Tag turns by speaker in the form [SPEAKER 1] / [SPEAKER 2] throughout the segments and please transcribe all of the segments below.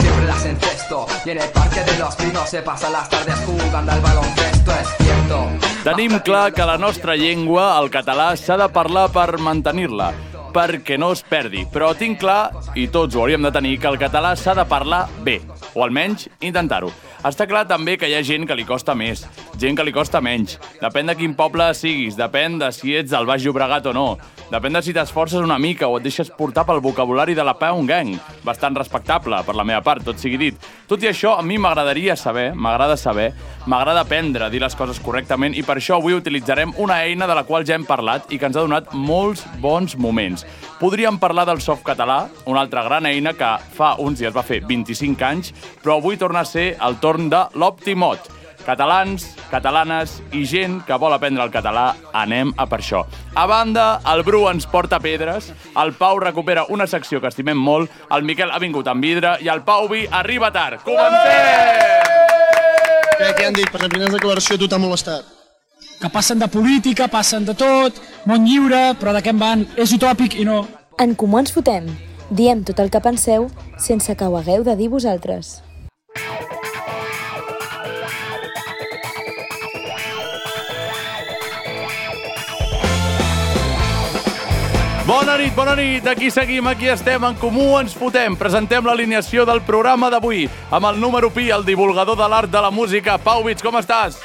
[SPEAKER 1] Siempre las encesto. Y en el parque de los pinos se pasan las tardes jugando al baloncesto, es cierto.
[SPEAKER 2] Tenim clar que la nostra llengua, el català, s'ha de parlar per mantenir-la, perquè no es perdi. Però tinc clar, i tots ho hauríem de tenir, que el català s'ha de parlar bé, o almenys intentar-ho. Està clar també que hi ha gent que li costa més, gent que li costa menys. Depèn de quin poble siguis, depèn de si ets del Baix Llobregat o no. Depèn de si t'esforces una mica o et deixes portar pel vocabulari de la Pound Gang. Bastant respectable, per la meva part, tot sigui dit. Tot i això, a mi m'agradaria saber, m'agrada saber, m'agrada aprendre, dir les coses correctament i per això avui utilitzarem una eina de la qual ja hem parlat i que ens ha donat molts bons moments. Podríem parlar del soft català, una altra gran eina que fa uns dies va fer 25 anys, però avui torna a ser el torn de l'Optimot. Catalans, catalanes i gent que vol aprendre el català, anem a per això. A banda, el Bru ens porta pedres, el Pau recupera una secció que estimem molt, el Miquel ha vingut amb vidre i el Pau Vi arriba tard. Comencem!
[SPEAKER 3] Què, què han dit? Per la primera declaració a tu t'ha molestat.
[SPEAKER 4] que passen de política, passen de tot, món lliure, però de què en van? És utòpic i no.
[SPEAKER 5] En Comú Ens Fotem. Diem tot el que penseu sense que ho hagueu de dir vosaltres.
[SPEAKER 2] Bona nit, bona nit, aquí seguim, aquí estem, en comú ens fotem. Presentem l'alineació del programa d'avui, amb el número pi, el divulgador de l'art de la música. Pau Vits, com estàs?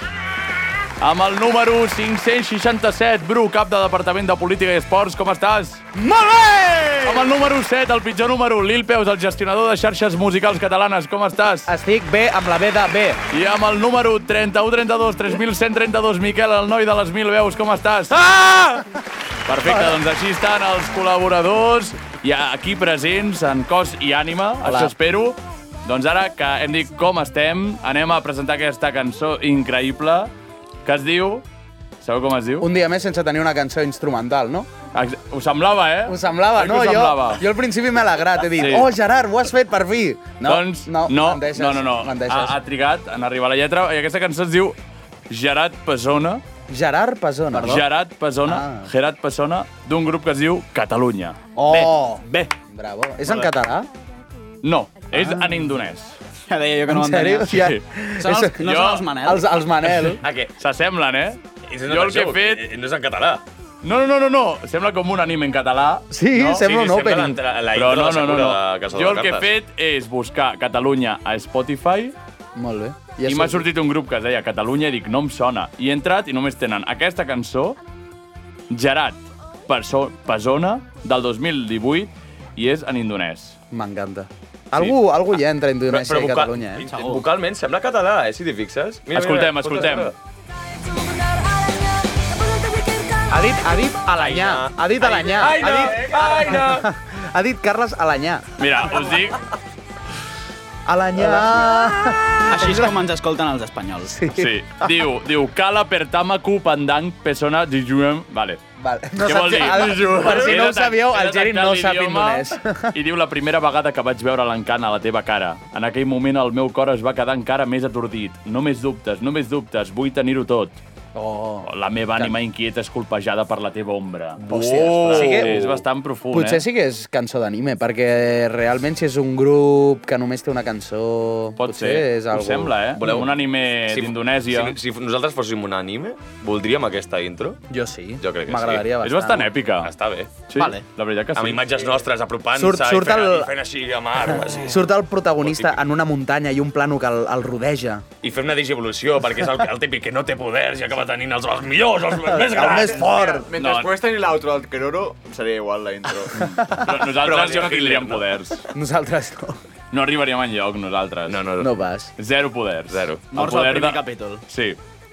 [SPEAKER 2] Amb el número 567, Bru, cap de Departament de Política i Esports, com estàs?
[SPEAKER 6] Molt bé!
[SPEAKER 2] Amb el número 7, el pitjor número, Lil Peus, el gestionador de xarxes musicals catalanes, com estàs?
[SPEAKER 6] Estic bé amb la B de B.
[SPEAKER 2] I amb el número 3132, 3132, Miquel, el noi de les mil veus, com estàs?
[SPEAKER 6] Ah!
[SPEAKER 2] Perfecte, doncs així estan els col·laboradors i aquí presents en cos i ànima, Hola. això espero. Doncs ara que hem dit com estem, anem a presentar aquesta cançó increïble que es diu... Sabeu com es diu?
[SPEAKER 6] Un dia més sense tenir una cançó instrumental, no?
[SPEAKER 2] Ex- Us semblava, eh?
[SPEAKER 6] Ho semblava,
[SPEAKER 2] Oi que
[SPEAKER 6] no?
[SPEAKER 2] Us semblava?
[SPEAKER 6] Jo, jo al principi m'he alegrat, he dit,
[SPEAKER 2] Sí.
[SPEAKER 6] sí. oh, Gerard, ho has fet per fi. No,
[SPEAKER 2] doncs, no, no,
[SPEAKER 6] menteixes,
[SPEAKER 2] no, no, no. Ah,
[SPEAKER 6] Menteixes.
[SPEAKER 2] Ha, ha trigat en arribar la lletra i aquesta cançó es diu Gerard Pesona,
[SPEAKER 6] Gerard Pesona.
[SPEAKER 2] Perdó? Gerard Pesona, ah.
[SPEAKER 6] Ah.
[SPEAKER 2] Gerard Pesona, d'un grup que es diu Catalunya.
[SPEAKER 6] Oh.
[SPEAKER 2] Bé, bé.
[SPEAKER 6] Bravo. És en català?
[SPEAKER 2] No, és en indonès.
[SPEAKER 7] Ja deia jo que no
[SPEAKER 6] Ah. en sèrio?
[SPEAKER 7] m'entenia.
[SPEAKER 6] Ja.
[SPEAKER 2] Sí.
[SPEAKER 7] Són els, no
[SPEAKER 2] Jo-
[SPEAKER 7] són els Manel?
[SPEAKER 6] Els, els Manel.
[SPEAKER 8] Ah, què?
[SPEAKER 2] S'assemblen, eh?
[SPEAKER 8] És
[SPEAKER 2] Jo el que he fet...
[SPEAKER 8] No és en català.
[SPEAKER 2] No, no, no, no, no. Sembla com un anime en català.
[SPEAKER 6] Sí,
[SPEAKER 2] no?
[SPEAKER 6] sembla un opening.
[SPEAKER 8] l'entra- la
[SPEAKER 2] Però
[SPEAKER 8] intro
[SPEAKER 2] no, no,
[SPEAKER 8] de
[SPEAKER 2] no,
[SPEAKER 8] Sakura
[SPEAKER 2] no.
[SPEAKER 8] de Casa de
[SPEAKER 2] Jo el que he
[SPEAKER 8] Cartes.
[SPEAKER 2] fet és buscar Catalunya a Spotify
[SPEAKER 6] Molt bé.
[SPEAKER 2] i m'ha sortit un grup que es deia Catalunya i dic, no em sona. I he entrat i només tenen aquesta cançó, Gerard Perso Pesona, del 2018, i és en indonès.
[SPEAKER 6] M'encanta. Algú, algú hi entra a Indonèsia i
[SPEAKER 8] voca-
[SPEAKER 6] Catalunya, eh?
[SPEAKER 8] i- Vocalment sembla català, eh, si t'hi fixes.
[SPEAKER 2] Escoltem,
[SPEAKER 8] escolta,
[SPEAKER 2] escoltem.
[SPEAKER 8] escolta.
[SPEAKER 6] Ha dit, ha dit Alanyà. Ha dit Alanyà. Ha
[SPEAKER 2] eh,
[SPEAKER 6] dit,
[SPEAKER 8] Aina!
[SPEAKER 6] ha dit Carles Alanyà.
[SPEAKER 2] Mira, us dic...
[SPEAKER 6] Alanyà.
[SPEAKER 7] Així és com ens escolten els espanyols. Sí.
[SPEAKER 2] Sí. Diu, diu, cala per tamacu pandang persona dijuem... Vale.
[SPEAKER 6] Vale.
[SPEAKER 2] No Què vol dir?
[SPEAKER 6] Per si no
[SPEAKER 2] He
[SPEAKER 6] ho
[SPEAKER 2] de-
[SPEAKER 6] sabíeu,
[SPEAKER 2] he de
[SPEAKER 6] el Geri
[SPEAKER 2] tancar
[SPEAKER 6] no sap
[SPEAKER 2] l'idioma
[SPEAKER 6] indonès.
[SPEAKER 2] I diu, la primera vegada que vaig veure l'encant a la teva cara. En aquell moment el meu cor es va quedar encara més atordit. Només dubtes, només dubtes, vull tenir-ho tot.
[SPEAKER 6] Oh.
[SPEAKER 2] La meva ànima inquieta és colpejada per la teva ombra.
[SPEAKER 6] Hòsties,
[SPEAKER 2] Sí,
[SPEAKER 6] sí que-
[SPEAKER 2] és bastant profund,
[SPEAKER 6] Oh. Potser
[SPEAKER 2] eh?
[SPEAKER 6] sí que és cançó d'anime, perquè realment si és un grup que només té una cançó...
[SPEAKER 2] Pot
[SPEAKER 6] potser
[SPEAKER 2] ser,
[SPEAKER 6] és
[SPEAKER 2] ho
[SPEAKER 6] algo...
[SPEAKER 2] sembla, eh?
[SPEAKER 8] Voleu-
[SPEAKER 2] Voleu... Un anime
[SPEAKER 8] Si-
[SPEAKER 2] d'Indonèsia.
[SPEAKER 8] Si, si nosaltres fóssim un anime, voldríem aquesta intro.
[SPEAKER 6] Jo sí.
[SPEAKER 8] Jo crec que sí.
[SPEAKER 6] M'agradaria
[SPEAKER 2] És bastant èpica.
[SPEAKER 8] Està bé.
[SPEAKER 2] Sí,
[SPEAKER 7] Vale.
[SPEAKER 2] la veritat que sí.
[SPEAKER 8] Amb imatges nostres apropant-se
[SPEAKER 6] Surt-
[SPEAKER 8] i,
[SPEAKER 6] surt
[SPEAKER 8] fent,
[SPEAKER 6] el-
[SPEAKER 8] i fent així amb armes. I,
[SPEAKER 6] Surt el protagonista en una muntanya i un plano que el, el rodeja.
[SPEAKER 8] I fer una digievolució, perquè és el, el típic que no té poders i acaba tenint els, els millors, els més
[SPEAKER 6] El
[SPEAKER 8] grans.
[SPEAKER 6] més fort!
[SPEAKER 9] Mentre
[SPEAKER 2] No.
[SPEAKER 9] no. puguis tenir l'outro del Keroro, seria igual la intro.
[SPEAKER 2] No- Nosaltres ja no tindríem poders.
[SPEAKER 6] Nosaltres no.
[SPEAKER 2] No arribaríem enlloc, nosaltres.
[SPEAKER 8] No, no, no.
[SPEAKER 6] No vas.
[SPEAKER 2] Zero poders.
[SPEAKER 8] Zero.
[SPEAKER 2] El
[SPEAKER 7] Morts al
[SPEAKER 2] poder
[SPEAKER 7] primer capítol.
[SPEAKER 2] Sí.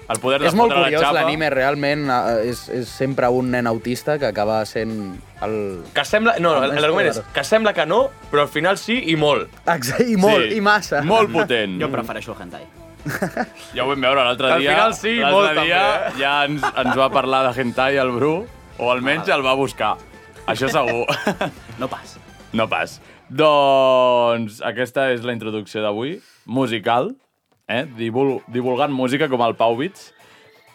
[SPEAKER 2] El poder de
[SPEAKER 6] És molt
[SPEAKER 2] fotre
[SPEAKER 6] curiós,
[SPEAKER 2] la xapa.
[SPEAKER 6] l'anime realment eh, és, és sempre un nen autista que acaba sent el...
[SPEAKER 8] Que sembla... No,
[SPEAKER 6] El més
[SPEAKER 8] l'argument és
[SPEAKER 6] poderós.
[SPEAKER 8] que sembla que no, però al final sí i molt.
[SPEAKER 6] Exacte, i molt,
[SPEAKER 2] Sí.
[SPEAKER 6] i massa.
[SPEAKER 2] Molt potent.
[SPEAKER 7] Jo prefereixo el hentai.
[SPEAKER 2] Ja ho vam veure l'altre
[SPEAKER 8] Al
[SPEAKER 2] dia.
[SPEAKER 8] final sí,
[SPEAKER 2] l'altre
[SPEAKER 8] molt, també,
[SPEAKER 2] dia
[SPEAKER 8] eh?
[SPEAKER 2] ja ens, ens va parlar de hentai el Bru, o almenys el va buscar. Això segur.
[SPEAKER 7] No pas.
[SPEAKER 2] No pas. Doncs aquesta és la introducció d'avui, musical, eh? Divul divulgant música com el Pau Bits.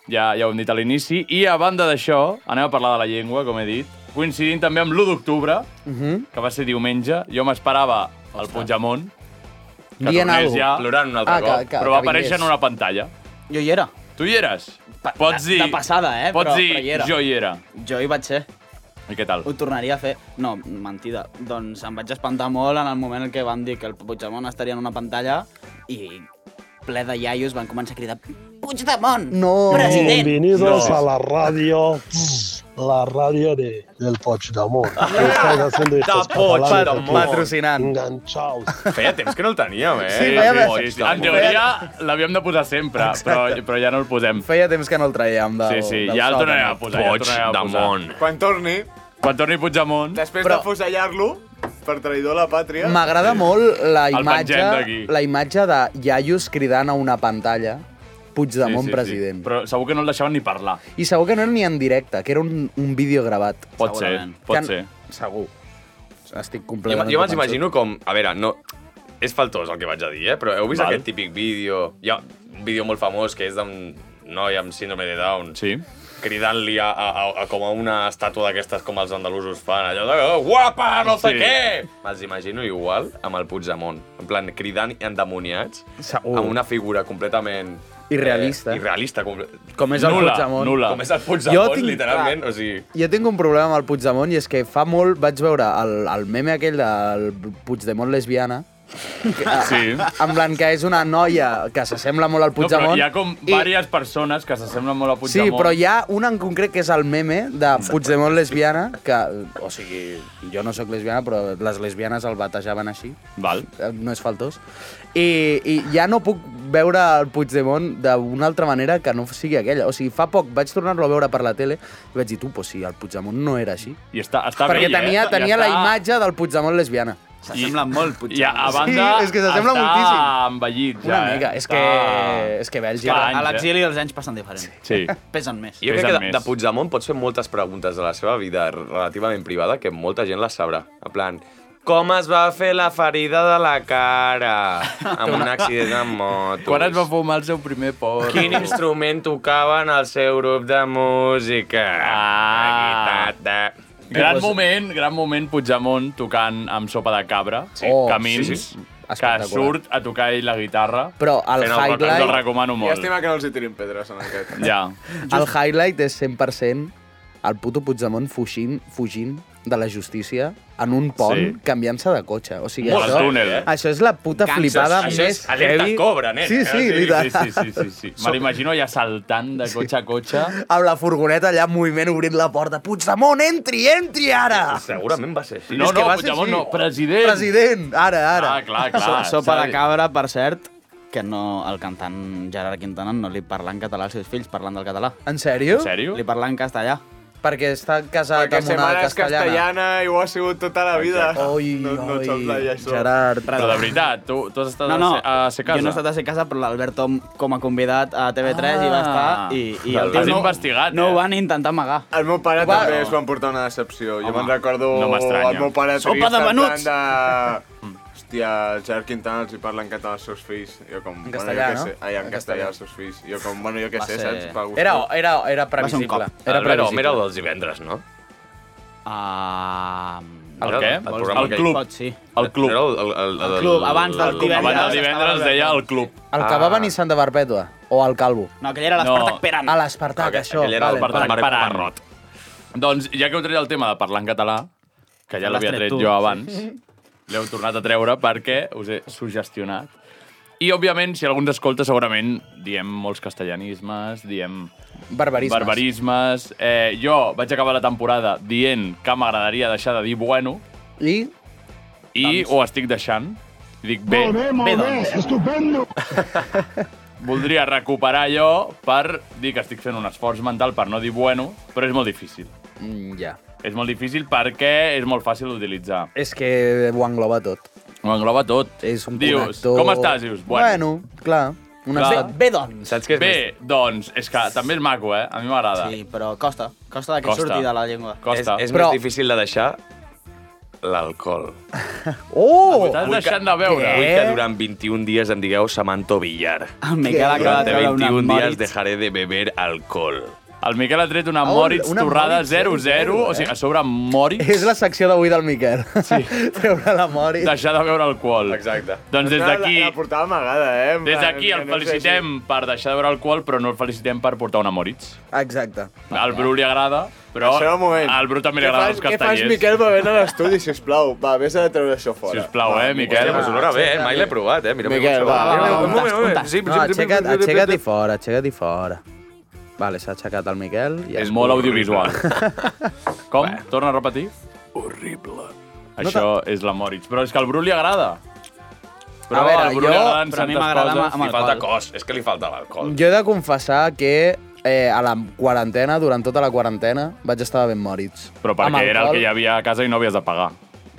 [SPEAKER 2] Ja, ja ho hem dit a l'inici. I a banda d'això, anem a parlar de la llengua, com he dit, coincidint també amb l'1 d'octubre, uh -huh.
[SPEAKER 6] Mhm.
[SPEAKER 2] que va ser diumenge. Jo m'esperava el Puigdemont, que
[SPEAKER 6] Dient
[SPEAKER 2] tornés
[SPEAKER 6] alguna
[SPEAKER 2] ja,
[SPEAKER 6] cosa.
[SPEAKER 8] Plorant un altre
[SPEAKER 6] Ah,
[SPEAKER 8] cop.
[SPEAKER 6] que-
[SPEAKER 2] però va
[SPEAKER 6] vingués.
[SPEAKER 2] aparèixer en una pantalla.
[SPEAKER 7] Jo hi era.
[SPEAKER 2] Tu hi eres?
[SPEAKER 7] Pa-
[SPEAKER 2] pots
[SPEAKER 7] de-
[SPEAKER 2] dir...
[SPEAKER 7] de passada, eh,
[SPEAKER 2] Pots
[SPEAKER 7] però-
[SPEAKER 2] dir,
[SPEAKER 7] però hi era.
[SPEAKER 2] jo hi era.
[SPEAKER 7] Jo hi vaig ser.
[SPEAKER 2] I què tal?
[SPEAKER 7] Ho tornaria a fer. No, mentida. Doncs em vaig espantar molt en el moment en què van dir que el Puigdemont estaria en una pantalla i ple de iaios van començar a cridar Puigdemont!
[SPEAKER 6] No.
[SPEAKER 7] President!
[SPEAKER 10] Bienvenidos a la radio, la radio de, del Pochidamón. Están haciendo estos
[SPEAKER 8] Da
[SPEAKER 10] catalanes aquí
[SPEAKER 8] Puigdemont.
[SPEAKER 6] Patrocinant.
[SPEAKER 10] enganchados.
[SPEAKER 8] Feia temps que no el teníem, eh?
[SPEAKER 6] Sí, feia-
[SPEAKER 2] En teoria l'havíem de posar sempre, però, però ja no el posem.
[SPEAKER 6] Feia temps que no el traiem del,
[SPEAKER 2] Sí, sí,
[SPEAKER 6] del
[SPEAKER 2] ja el
[SPEAKER 6] sòtan.
[SPEAKER 2] tornarem a posar. Ja el
[SPEAKER 8] Poig
[SPEAKER 2] tornarem a posar.
[SPEAKER 8] damunt.
[SPEAKER 9] Quan torni,
[SPEAKER 2] Quan torni Puigdemont,
[SPEAKER 9] després
[SPEAKER 6] Però-
[SPEAKER 9] Però... de fusellar-lo per traïdor a la pàtria...
[SPEAKER 6] M'agrada molt la
[SPEAKER 2] El
[SPEAKER 6] imatge,
[SPEAKER 2] pengem d'aquí.
[SPEAKER 6] la imatge de iaios cridant a una pantalla Puigdemont
[SPEAKER 2] Sí, sí, sí.
[SPEAKER 6] president.
[SPEAKER 2] Però segur que no el deixaven ni parlar.
[SPEAKER 6] I segur que no era ni en directe, que era un, un vídeo gravat.
[SPEAKER 2] Pot ser,
[SPEAKER 7] Segurament.
[SPEAKER 2] pot
[SPEAKER 6] Que-
[SPEAKER 2] ser.
[SPEAKER 6] Segur. Estic
[SPEAKER 8] Jo,
[SPEAKER 6] completament
[SPEAKER 8] jo me'ls
[SPEAKER 6] convençut.
[SPEAKER 8] imagino com... A veure, no... És faltós el que vaig a dir, eh? Però heu vist
[SPEAKER 2] Val.
[SPEAKER 8] Val. aquest típic vídeo... Hi ha un vídeo molt famós que és d'un noi amb síndrome de Down
[SPEAKER 2] Sí.
[SPEAKER 8] cridant-li a, a, a, a, com a una estàtua d'aquestes com els andalusos fan, allò de "Oh, guapa, no sé
[SPEAKER 2] Sí.
[SPEAKER 8] què! Me'ls imagino igual amb el Puigdemont, en plan cridant i endemoniats,
[SPEAKER 6] Segur.
[SPEAKER 8] amb una figura completament...
[SPEAKER 6] uh. Irrealista.
[SPEAKER 8] Eh, irrealista, comple
[SPEAKER 6] Com és el
[SPEAKER 2] Nula,
[SPEAKER 6] Puigdemont.
[SPEAKER 2] nula.
[SPEAKER 8] com és el Puigdemont,
[SPEAKER 6] Jo tinc-
[SPEAKER 8] literalment, o sigui...
[SPEAKER 6] Jo tinc un problema amb el Puigdemont i és que fa molt vaig veure el, el meme aquell del Puigdemont lesbiana que,
[SPEAKER 2] Sí.
[SPEAKER 6] en plan que és una noia que s'assembla molt al
[SPEAKER 2] No, però
[SPEAKER 6] Puigdemont.
[SPEAKER 2] hi ha com
[SPEAKER 6] i-
[SPEAKER 2] diverses persones que s'assemblen molt a
[SPEAKER 6] Sí,
[SPEAKER 2] Puigdemont.
[SPEAKER 6] però hi ha una en concret que és el meme de Puigdemont lesbiana, que, o sigui, jo no sóc lesbiana, però les lesbianes el batejaven així.
[SPEAKER 2] Val.
[SPEAKER 6] Eh, No és faltós. I, I ja no puc veure el Puigdemont d'una altra manera que no sigui aquella. O sigui, fa poc vaig tornar-lo a veure per la tele i vaig dir, tu, pues sí, el Puigdemont no era així.
[SPEAKER 2] I està, està
[SPEAKER 6] Perquè
[SPEAKER 2] vell,
[SPEAKER 6] tenia,
[SPEAKER 2] eh?
[SPEAKER 6] tenia
[SPEAKER 2] I
[SPEAKER 6] la
[SPEAKER 2] està-
[SPEAKER 6] imatge del Puigdemont lesbiana.
[SPEAKER 7] S'assembla molt,
[SPEAKER 2] I a,
[SPEAKER 7] Puigdemont.
[SPEAKER 2] a banda,
[SPEAKER 6] Sí, és que s'assembla
[SPEAKER 2] està
[SPEAKER 6] moltíssim.
[SPEAKER 2] envellit, ja.
[SPEAKER 6] Una
[SPEAKER 2] eh?
[SPEAKER 6] mica. És que,
[SPEAKER 2] Està-
[SPEAKER 6] és que
[SPEAKER 2] Clar.
[SPEAKER 6] Bèlgica...
[SPEAKER 7] A l'exili els anys passen diferent.
[SPEAKER 2] eh? Sí.
[SPEAKER 7] Pesen més.
[SPEAKER 8] Jo
[SPEAKER 2] Pesen
[SPEAKER 8] crec que de,
[SPEAKER 2] més.
[SPEAKER 8] de Puigdemont pots fer moltes preguntes de la seva vida relativament privada que molta gent les sabrà. En plan, com es va fer la ferida de la cara amb un accident de motos?
[SPEAKER 2] Quan es va fumar el seu primer porro?
[SPEAKER 8] Quin instrument tocava en el seu grup de música?
[SPEAKER 2] Ah.
[SPEAKER 8] La guitarra.
[SPEAKER 2] Gran
[SPEAKER 6] Pues-
[SPEAKER 2] moment, gran moment Puigdemont tocant amb sopa de cabra, sí.
[SPEAKER 6] Oh,
[SPEAKER 2] Camins,
[SPEAKER 6] sí, sí.
[SPEAKER 2] que
[SPEAKER 6] Espectacular.
[SPEAKER 2] surt a tocar ell la guitarra.
[SPEAKER 6] Però el
[SPEAKER 8] Fent el rock and
[SPEAKER 2] Us el
[SPEAKER 6] highlight...
[SPEAKER 2] recomano molt.
[SPEAKER 9] Llàstima que no els hi tirin pedres en aquest.
[SPEAKER 2] Ja.
[SPEAKER 6] El highlight és 100% el puto Puigdemont fugint, fugint de la justícia en un pont
[SPEAKER 2] Sí.
[SPEAKER 6] canviant-se de cotxe. O sigui,
[SPEAKER 2] Molt
[SPEAKER 6] això,
[SPEAKER 2] al túnel, eh?
[SPEAKER 6] això és la puta
[SPEAKER 7] Gangsters,
[SPEAKER 6] flipada
[SPEAKER 8] això
[SPEAKER 6] més
[SPEAKER 8] és alerta cobra, nen,
[SPEAKER 6] Sí,
[SPEAKER 8] eh?
[SPEAKER 6] sí,
[SPEAKER 8] Sí,
[SPEAKER 6] sí,
[SPEAKER 2] Sí, sí, sí, sí, sí. Me l'imagino ja saltant de cotxe a cotxe.
[SPEAKER 6] Amb la furgoneta allà en moviment obrint la porta. Puigdemont, entri, entri ara!
[SPEAKER 8] Segurament va ser així.
[SPEAKER 2] No,
[SPEAKER 6] És que
[SPEAKER 2] no,
[SPEAKER 6] va ser
[SPEAKER 2] Puigdemont
[SPEAKER 6] així.
[SPEAKER 2] no, president.
[SPEAKER 6] President, ara, ara.
[SPEAKER 2] Ah, clar, clar.
[SPEAKER 7] So, sopa
[SPEAKER 2] s'ha
[SPEAKER 7] de cabra, per cert, que no, el cantant Gerard Quintana no li parla en català als seus fills, parlant del català.
[SPEAKER 6] En sèrio?
[SPEAKER 2] En sèrio?
[SPEAKER 7] Li parla en castellà.
[SPEAKER 6] Perquè està casat
[SPEAKER 9] Perquè
[SPEAKER 6] amb
[SPEAKER 9] se
[SPEAKER 6] una
[SPEAKER 9] mare és
[SPEAKER 6] castellana.
[SPEAKER 9] castellana i ho ha sigut tota la vida.
[SPEAKER 6] Oi,
[SPEAKER 9] no, no
[SPEAKER 6] oi,
[SPEAKER 9] et sembla ja això.
[SPEAKER 6] Gerard.
[SPEAKER 2] Però de veritat, tu, tu has estat
[SPEAKER 7] No, no,
[SPEAKER 2] a ser casa.
[SPEAKER 7] jo no he estat a ser casa, però l'Albert Tom com a convidat a TV3
[SPEAKER 2] Ah.
[SPEAKER 7] hi va estar i, i
[SPEAKER 2] Has
[SPEAKER 7] el tio no,
[SPEAKER 2] investigat,
[SPEAKER 7] no
[SPEAKER 2] eh?
[SPEAKER 7] ho van intentar amagar.
[SPEAKER 9] El meu pare
[SPEAKER 6] Va-
[SPEAKER 9] també es van portar una decepció. jo me'n recordo
[SPEAKER 2] no m'estranya.
[SPEAKER 9] el meu pare
[SPEAKER 7] Sopa de
[SPEAKER 9] en plan
[SPEAKER 7] venuts!
[SPEAKER 9] De... Hòstia, el Gerard Quintana els hi parla en català als seus fills. Jo com,
[SPEAKER 6] En castellà,
[SPEAKER 9] bueno, jo
[SPEAKER 6] no?
[SPEAKER 9] què sé. Ai, en,
[SPEAKER 6] En castellà.
[SPEAKER 9] castellà als seus fills. Jo com, bueno, jo què
[SPEAKER 7] Va
[SPEAKER 9] sé,
[SPEAKER 7] ser-
[SPEAKER 9] saps? Per gustos.
[SPEAKER 6] Era, era, era previsible.
[SPEAKER 7] cop.
[SPEAKER 6] Era
[SPEAKER 8] Albert
[SPEAKER 6] previsible.
[SPEAKER 8] Home era el dels divendres, no?
[SPEAKER 7] Ah,
[SPEAKER 2] El
[SPEAKER 8] Era
[SPEAKER 2] què?
[SPEAKER 8] el programa
[SPEAKER 2] El
[SPEAKER 8] aquell.
[SPEAKER 2] club.
[SPEAKER 7] Pot, sí.
[SPEAKER 2] El club.
[SPEAKER 8] Era el, el, el, el,
[SPEAKER 7] club, abans del
[SPEAKER 8] el-
[SPEAKER 7] divendres.
[SPEAKER 2] Abans del divendres es deia el club.
[SPEAKER 6] El que va venir Santa Perpètua, o el Calvo.
[SPEAKER 7] No, aquell era
[SPEAKER 2] No.
[SPEAKER 7] l'Espartac no. Peran.
[SPEAKER 6] A l'Espartac,
[SPEAKER 8] Aquell-
[SPEAKER 6] això.
[SPEAKER 8] aquell era el
[SPEAKER 6] vale.
[SPEAKER 8] Espartac. Marc
[SPEAKER 2] Parant.
[SPEAKER 8] Parrot.
[SPEAKER 2] Doncs ja que heu tret el tema de parlar en català, que ja
[SPEAKER 7] L'has
[SPEAKER 2] l'havia
[SPEAKER 7] tret
[SPEAKER 2] tret
[SPEAKER 7] tu.
[SPEAKER 2] jo abans, l'heu tornat a treure perquè us he sugestionat. I, òbviament, si algú ens escolta, segurament diem molts castellanismes, diem
[SPEAKER 6] Barbarismes.
[SPEAKER 2] barbarismes. Eh, jo vaig acabar la temporada dient que m'agradaria deixar de dir bueno
[SPEAKER 6] I
[SPEAKER 2] i
[SPEAKER 7] Doncs.
[SPEAKER 2] ho estic deixant. I dic, bé,
[SPEAKER 7] Bé, doncs.
[SPEAKER 2] voldria recuperar allò per dir que estic fent un esforç mental per no dir bueno, però és molt difícil.
[SPEAKER 6] mm, ja.
[SPEAKER 2] És molt difícil perquè és molt fàcil d'utilitzar.
[SPEAKER 6] És que ho engloba tot.
[SPEAKER 2] Ho engloba tot.
[SPEAKER 6] És un
[SPEAKER 2] Dius,
[SPEAKER 6] connector...
[SPEAKER 2] com estàs? Dius,
[SPEAKER 6] bueno. clar. Una
[SPEAKER 2] Clar.
[SPEAKER 6] estat-
[SPEAKER 7] Bé, doncs.
[SPEAKER 8] Saps què és
[SPEAKER 2] Bé, doncs, és que també és maco, eh? A mi m'agrada.
[SPEAKER 7] Sí, però costa. Costa de que
[SPEAKER 2] Costa.
[SPEAKER 7] surti de la llengua.
[SPEAKER 2] Costa.
[SPEAKER 8] És, és
[SPEAKER 2] Però-
[SPEAKER 8] però... més difícil de deixar l'alcohol.
[SPEAKER 6] Oh!
[SPEAKER 2] T'has deixat de veure.
[SPEAKER 8] Vull que durant 21 dies em digueu Samanto Villar.
[SPEAKER 7] El Miquel ha acabat
[SPEAKER 8] Durante
[SPEAKER 7] de veure una
[SPEAKER 8] 21 dies
[SPEAKER 7] Moritz.
[SPEAKER 8] dejaré de beber alcohol.
[SPEAKER 2] El Miquel ha tret una
[SPEAKER 6] Ah,
[SPEAKER 2] Moritz
[SPEAKER 6] una
[SPEAKER 2] torrada
[SPEAKER 6] Moritz
[SPEAKER 2] 0-0,
[SPEAKER 6] eh?
[SPEAKER 2] o sigui, a sobre Moritz,
[SPEAKER 6] És la secció d'avui del Miquel. Sí. Treure la mori.
[SPEAKER 2] deixar de beure alcohol.
[SPEAKER 8] Exacte.
[SPEAKER 2] Doncs des d'aquí...
[SPEAKER 9] La, la portava amagada, eh? En
[SPEAKER 2] Des
[SPEAKER 9] plan,
[SPEAKER 2] d'aquí el
[SPEAKER 9] que no sé
[SPEAKER 2] felicitem per deixar de beure alcohol, però no el felicitem per portar una Moritz.
[SPEAKER 6] Exacte.
[SPEAKER 2] Al Bru li agrada, però
[SPEAKER 9] Això de moment.
[SPEAKER 2] al Bru també li
[SPEAKER 9] Què
[SPEAKER 2] agrada
[SPEAKER 9] fas,
[SPEAKER 2] els
[SPEAKER 9] què fas,
[SPEAKER 2] castanyers.
[SPEAKER 9] Miquel, bevent a l'estudi, sisplau? Va, vés a treure això fora.
[SPEAKER 2] Sisplau, eh, Miquel?
[SPEAKER 8] Hòstia, pues honora bé, eh? Mai l'he provat, eh? Mira,
[SPEAKER 9] Miquel, va, va, va,
[SPEAKER 8] Un moment, un moment. Sí,
[SPEAKER 6] No, aixeca't, aixeca't i fora, aixeca't i fora. Vale, s'ha aixecat el Miquel. I
[SPEAKER 2] És molt audiovisual. Com? Torna a repetir? Horrible. Això és la Moritz. Però és que al Bru li agrada. Però
[SPEAKER 6] A veure,
[SPEAKER 2] al Bru
[SPEAKER 6] jo-
[SPEAKER 2] li agraden
[SPEAKER 7] però a mi
[SPEAKER 2] certes
[SPEAKER 7] m'agrada
[SPEAKER 2] coses.
[SPEAKER 7] amb- amb
[SPEAKER 2] Li falta
[SPEAKER 7] alcohol.
[SPEAKER 2] cor.
[SPEAKER 8] Cos, és que li falta l'alcohol.
[SPEAKER 6] Jo he de confessar que eh, a la quarantena, durant tota la quarantena, vaig estar ben Moritz.
[SPEAKER 2] Però perquè era el que hi havia a casa i no havies de pagar.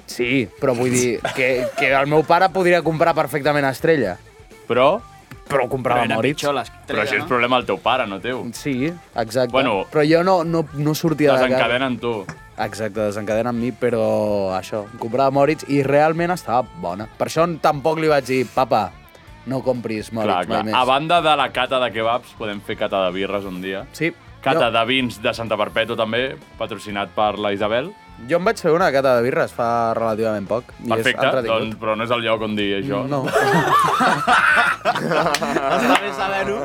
[SPEAKER 6] Sí, però vull dir que, que el meu pare podria comprar perfectament Estrella,
[SPEAKER 2] Però...
[SPEAKER 6] però comprava
[SPEAKER 7] Era
[SPEAKER 6] Moritz.
[SPEAKER 7] pitjor les
[SPEAKER 2] Però
[SPEAKER 7] tres,
[SPEAKER 2] això és
[SPEAKER 7] no?
[SPEAKER 2] problema del teu pare, no teu.
[SPEAKER 6] Sí, exacte.
[SPEAKER 2] Bueno.
[SPEAKER 6] però jo no, no, no sortia de casa.
[SPEAKER 2] Desencadenen tu.
[SPEAKER 6] Exacte, desencadena amb mi, però això, comprava Moritz i realment estava bona. Per això tampoc li vaig dir, papa, no compris Moritz
[SPEAKER 2] Clar, clar.
[SPEAKER 6] mai més.
[SPEAKER 2] A banda de la cata de kebabs, podem fer cata de birres un dia.
[SPEAKER 6] Sí.
[SPEAKER 2] Cata
[SPEAKER 6] Jo,
[SPEAKER 2] de vins de Santa Perpètua, també, patrocinat per la Isabel.
[SPEAKER 6] jo em vaig fer una cata de birres fa relativament poc. I
[SPEAKER 2] Perfecte,
[SPEAKER 6] és
[SPEAKER 2] doncs, però no és el lloc on dir això.
[SPEAKER 6] No.
[SPEAKER 7] Està bé saber-ho.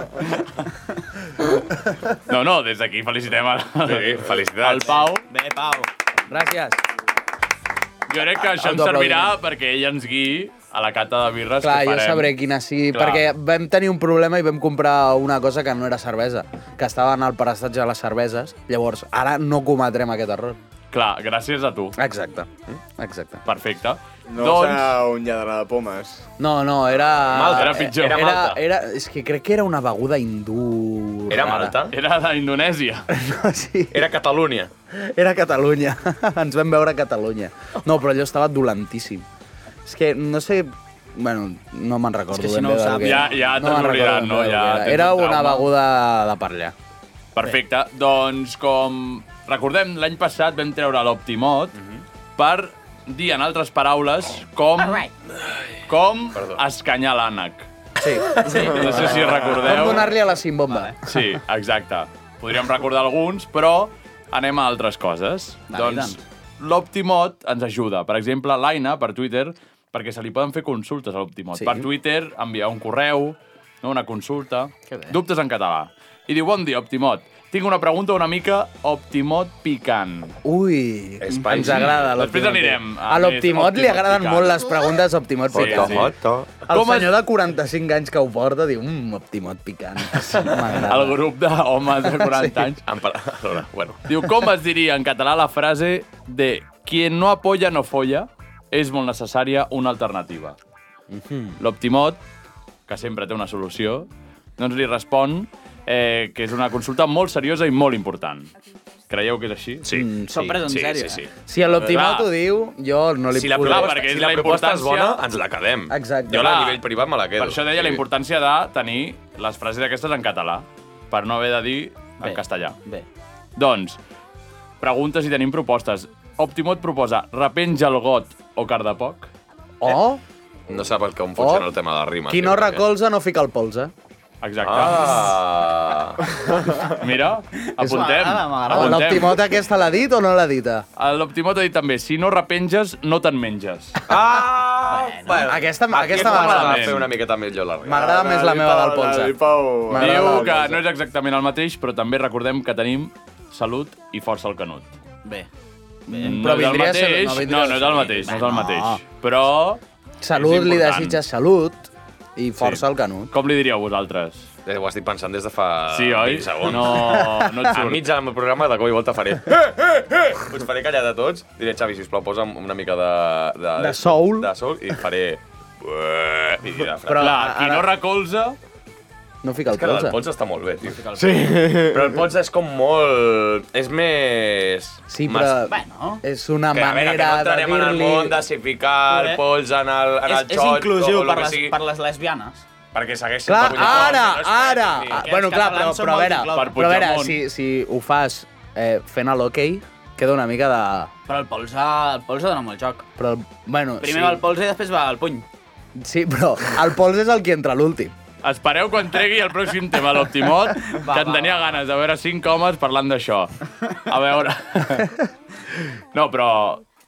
[SPEAKER 2] no, no des d'aquí felicitem el,
[SPEAKER 8] Sí, felicitats.
[SPEAKER 2] el Pau.
[SPEAKER 7] Bé, Pau.
[SPEAKER 6] Gràcies.
[SPEAKER 2] Doncs Jo crec que això
[SPEAKER 6] El
[SPEAKER 2] ens
[SPEAKER 6] doble
[SPEAKER 2] servirà perquè ell ens guiï a la cata de birres
[SPEAKER 6] Clar,
[SPEAKER 2] que
[SPEAKER 6] jo
[SPEAKER 2] farem.
[SPEAKER 6] sabré quina sigui,
[SPEAKER 2] Clar.
[SPEAKER 6] perquè vam tenir un problema i vam comprar una cosa que no era cervesa, que estava en el prestatge de les cerveses. Llavors, ara no cometrem aquest error.
[SPEAKER 2] Clar, gràcies a tu.
[SPEAKER 6] Exacte. Exacte.
[SPEAKER 2] Perfecte.
[SPEAKER 9] No
[SPEAKER 2] doncs,
[SPEAKER 9] serà un lladre de pomes.
[SPEAKER 6] No, no, era...
[SPEAKER 2] Malta, era pitjor.
[SPEAKER 6] Era,
[SPEAKER 8] Era
[SPEAKER 6] era,
[SPEAKER 8] malta.
[SPEAKER 6] era, és que crec que era una beguda hindú...
[SPEAKER 8] Era
[SPEAKER 6] rara.
[SPEAKER 8] Malta?
[SPEAKER 2] era d'Indonèsia.
[SPEAKER 6] No, sí,
[SPEAKER 8] Era Catalunya.
[SPEAKER 6] era Catalunya. Ens vam veure a Catalunya. No, però allò estava dolentíssim. És que no sé... Bueno, no me'n recordo
[SPEAKER 7] que si
[SPEAKER 6] ben
[SPEAKER 7] no
[SPEAKER 6] bé
[SPEAKER 7] ho
[SPEAKER 6] del
[SPEAKER 7] saps-
[SPEAKER 6] que era.
[SPEAKER 2] Ja- ja
[SPEAKER 6] me'n
[SPEAKER 2] t'has oblidat,
[SPEAKER 6] recordo ben
[SPEAKER 2] no?
[SPEAKER 6] bé del
[SPEAKER 2] Ja
[SPEAKER 6] que
[SPEAKER 2] tens
[SPEAKER 6] Era,
[SPEAKER 2] un
[SPEAKER 6] era una
[SPEAKER 2] trauma.
[SPEAKER 6] beguda de per allà.
[SPEAKER 2] Perfecte. Doncs com recordem, l'any passat vam treure l'Optimot per dir en altres paraules com, com escanyar l'ànec.
[SPEAKER 6] Sí. sí.
[SPEAKER 2] No sé si
[SPEAKER 6] Vam
[SPEAKER 2] recordeu.
[SPEAKER 6] donar-li a la cimbomba.
[SPEAKER 2] Sí, exacte. Podríem recordar alguns, però anem a altres coses.
[SPEAKER 7] Dale,
[SPEAKER 2] doncs l'Optimot ens ajuda. Per exemple, l'Aina, per Twitter, perquè se li poden fer consultes a l'Optimot.
[SPEAKER 6] Sí.
[SPEAKER 2] Per Twitter, enviar un correu, no, una consulta,
[SPEAKER 7] Que bé.
[SPEAKER 2] dubtes en català. I diu, bon dia, Optimot. Tinc una pregunta una mica Optimot picant.
[SPEAKER 6] Ui,
[SPEAKER 8] Spicy.
[SPEAKER 6] ens agrada
[SPEAKER 2] Després
[SPEAKER 6] l'Optimot.
[SPEAKER 2] anirem a
[SPEAKER 6] A l'Optimot
[SPEAKER 2] més
[SPEAKER 6] li agraden
[SPEAKER 2] Optimot
[SPEAKER 6] molt
[SPEAKER 2] picant.
[SPEAKER 6] les preguntes Optimot
[SPEAKER 2] Sí,
[SPEAKER 6] picant.
[SPEAKER 2] sí.
[SPEAKER 8] Joto.
[SPEAKER 6] El
[SPEAKER 2] Com es-
[SPEAKER 6] senyor de 45 anys que ho porta diu, mmm, Optimot picant. M'agrada.
[SPEAKER 2] El grup d'homes de 40 sí. anys.
[SPEAKER 8] En pala- Alhora, bueno.
[SPEAKER 2] Diu, com es diria en català la frase de «Quien no apoya no folla» és molt necessària una alternativa. L'Optimot, que sempre té una solució, doncs li respon eh, que és una consulta molt seriosa i molt important. Creieu que és així?
[SPEAKER 8] Sí.
[SPEAKER 6] Mm,
[SPEAKER 7] S'ho ha
[SPEAKER 6] sí.
[SPEAKER 7] pres en
[SPEAKER 8] Sí,
[SPEAKER 7] sèrio,
[SPEAKER 8] sí, sí.
[SPEAKER 6] Si a l'Optimot
[SPEAKER 2] Clar.
[SPEAKER 6] ho diu, jo no li
[SPEAKER 8] Si la,
[SPEAKER 6] puc
[SPEAKER 2] proposta-
[SPEAKER 8] proposta,
[SPEAKER 6] provar.
[SPEAKER 2] perquè és
[SPEAKER 8] si
[SPEAKER 2] la
[SPEAKER 8] la, proposta és bona,
[SPEAKER 2] importància-
[SPEAKER 8] ens la quedem.
[SPEAKER 6] Exacte.
[SPEAKER 8] Jo la,
[SPEAKER 2] Clar.
[SPEAKER 8] a nivell privat me la quedo.
[SPEAKER 2] Per això deia la
[SPEAKER 8] Sí.
[SPEAKER 2] importància de tenir les frases aquestes en català, per no haver de dir en
[SPEAKER 7] Bé.
[SPEAKER 2] castellà.
[SPEAKER 7] Bé.
[SPEAKER 2] Doncs, preguntes i tenim propostes. Optimot proposa repenja el got o car de poc.
[SPEAKER 8] Eh,
[SPEAKER 6] O,
[SPEAKER 8] No sap el com funciona
[SPEAKER 6] Oh.
[SPEAKER 8] el tema de la rima.
[SPEAKER 6] qui no recolza no fica el polze.
[SPEAKER 2] Exacte.
[SPEAKER 8] Ah!
[SPEAKER 2] Mira, apuntem.
[SPEAKER 7] M'agrada, m'agrada.
[SPEAKER 2] apuntem.
[SPEAKER 6] L'Optimot aquesta l'ha dit o no l'ha dita?
[SPEAKER 2] L'Optimot ha dit també, si no repenges, no te'n menges.
[SPEAKER 8] Ah! Bueno,
[SPEAKER 6] Aquesta- aquesta
[SPEAKER 8] me la va
[SPEAKER 2] m'agrada.
[SPEAKER 8] fer una miqueta millor la rima.
[SPEAKER 6] M'agrada més la meva del
[SPEAKER 9] La
[SPEAKER 6] polze.
[SPEAKER 9] Pau...
[SPEAKER 6] M'agrada
[SPEAKER 2] Diu
[SPEAKER 6] la
[SPEAKER 2] que no és exactament el mateix, però també recordem que tenim salut i força al canut.
[SPEAKER 7] Bé.
[SPEAKER 2] No és
[SPEAKER 6] Però
[SPEAKER 2] el
[SPEAKER 6] vindria a
[SPEAKER 2] mateix,
[SPEAKER 6] ser- no
[SPEAKER 2] no,
[SPEAKER 6] vindria
[SPEAKER 2] no,
[SPEAKER 6] a
[SPEAKER 2] no és
[SPEAKER 6] ser-
[SPEAKER 2] el mateix, no és el
[SPEAKER 6] No.
[SPEAKER 2] mateix. Però,
[SPEAKER 6] Salut
[SPEAKER 2] És
[SPEAKER 6] li
[SPEAKER 2] important.
[SPEAKER 6] desitja salut i força al canut.
[SPEAKER 2] com li diríeu vosaltres?
[SPEAKER 8] Eh, Ho estic pensant des de fa
[SPEAKER 2] Sí, oi?
[SPEAKER 8] 20 Eh, segons.
[SPEAKER 2] No, no et
[SPEAKER 8] Al
[SPEAKER 2] surt.
[SPEAKER 8] mig del programa, de cop i volta faré... Eh, eh, eh! Us faré callar de tots. Diré, Xavi, sisplau, posa'm una mica de... De,
[SPEAKER 6] De soul.
[SPEAKER 8] De soul, i faré... "Bueh", I diré la frase.
[SPEAKER 6] Però-
[SPEAKER 2] Clar,
[SPEAKER 6] Ara-
[SPEAKER 2] qui no recolza...
[SPEAKER 6] No fica el
[SPEAKER 8] És que la
[SPEAKER 6] polze.
[SPEAKER 8] del Pons està molt bé, tio. Sí. Però el Pons és com molt... És més...
[SPEAKER 6] Sí, però
[SPEAKER 8] mas-
[SPEAKER 7] Bueno.
[SPEAKER 6] és una
[SPEAKER 8] Que, a veure, que
[SPEAKER 6] manera
[SPEAKER 8] no
[SPEAKER 6] de
[SPEAKER 8] entrarem en el
[SPEAKER 6] dir-li...
[SPEAKER 8] món de si ficar el
[SPEAKER 7] Eh?
[SPEAKER 8] pols en el, en el
[SPEAKER 7] És, és
[SPEAKER 8] xot, o
[SPEAKER 7] inclusiu
[SPEAKER 8] el
[SPEAKER 7] per
[SPEAKER 8] que
[SPEAKER 7] les,
[SPEAKER 8] sigui.
[SPEAKER 7] per les lesbianes.
[SPEAKER 8] Perquè segueix sent
[SPEAKER 6] Clar, ah.
[SPEAKER 8] de Puigdemont,
[SPEAKER 6] ara,
[SPEAKER 8] que no és
[SPEAKER 6] ara!
[SPEAKER 8] Pedri.
[SPEAKER 6] Ah, Bueno, clar, però, però a veure, però a veure si, si ho fas eh, fent a l'hoquei, queda una mica de...
[SPEAKER 7] Però el polze, el polze dona molt joc.
[SPEAKER 6] Però, bueno,
[SPEAKER 7] Primer
[SPEAKER 6] sí.
[SPEAKER 7] va el polze i després va el puny.
[SPEAKER 6] Sí, però el pols és el que entra l'últim.
[SPEAKER 2] Espereu quan tregui el pròxim tema a l'Optimot, que en tenia ganes de veure cinc homes parlant d'això. A veure... No, però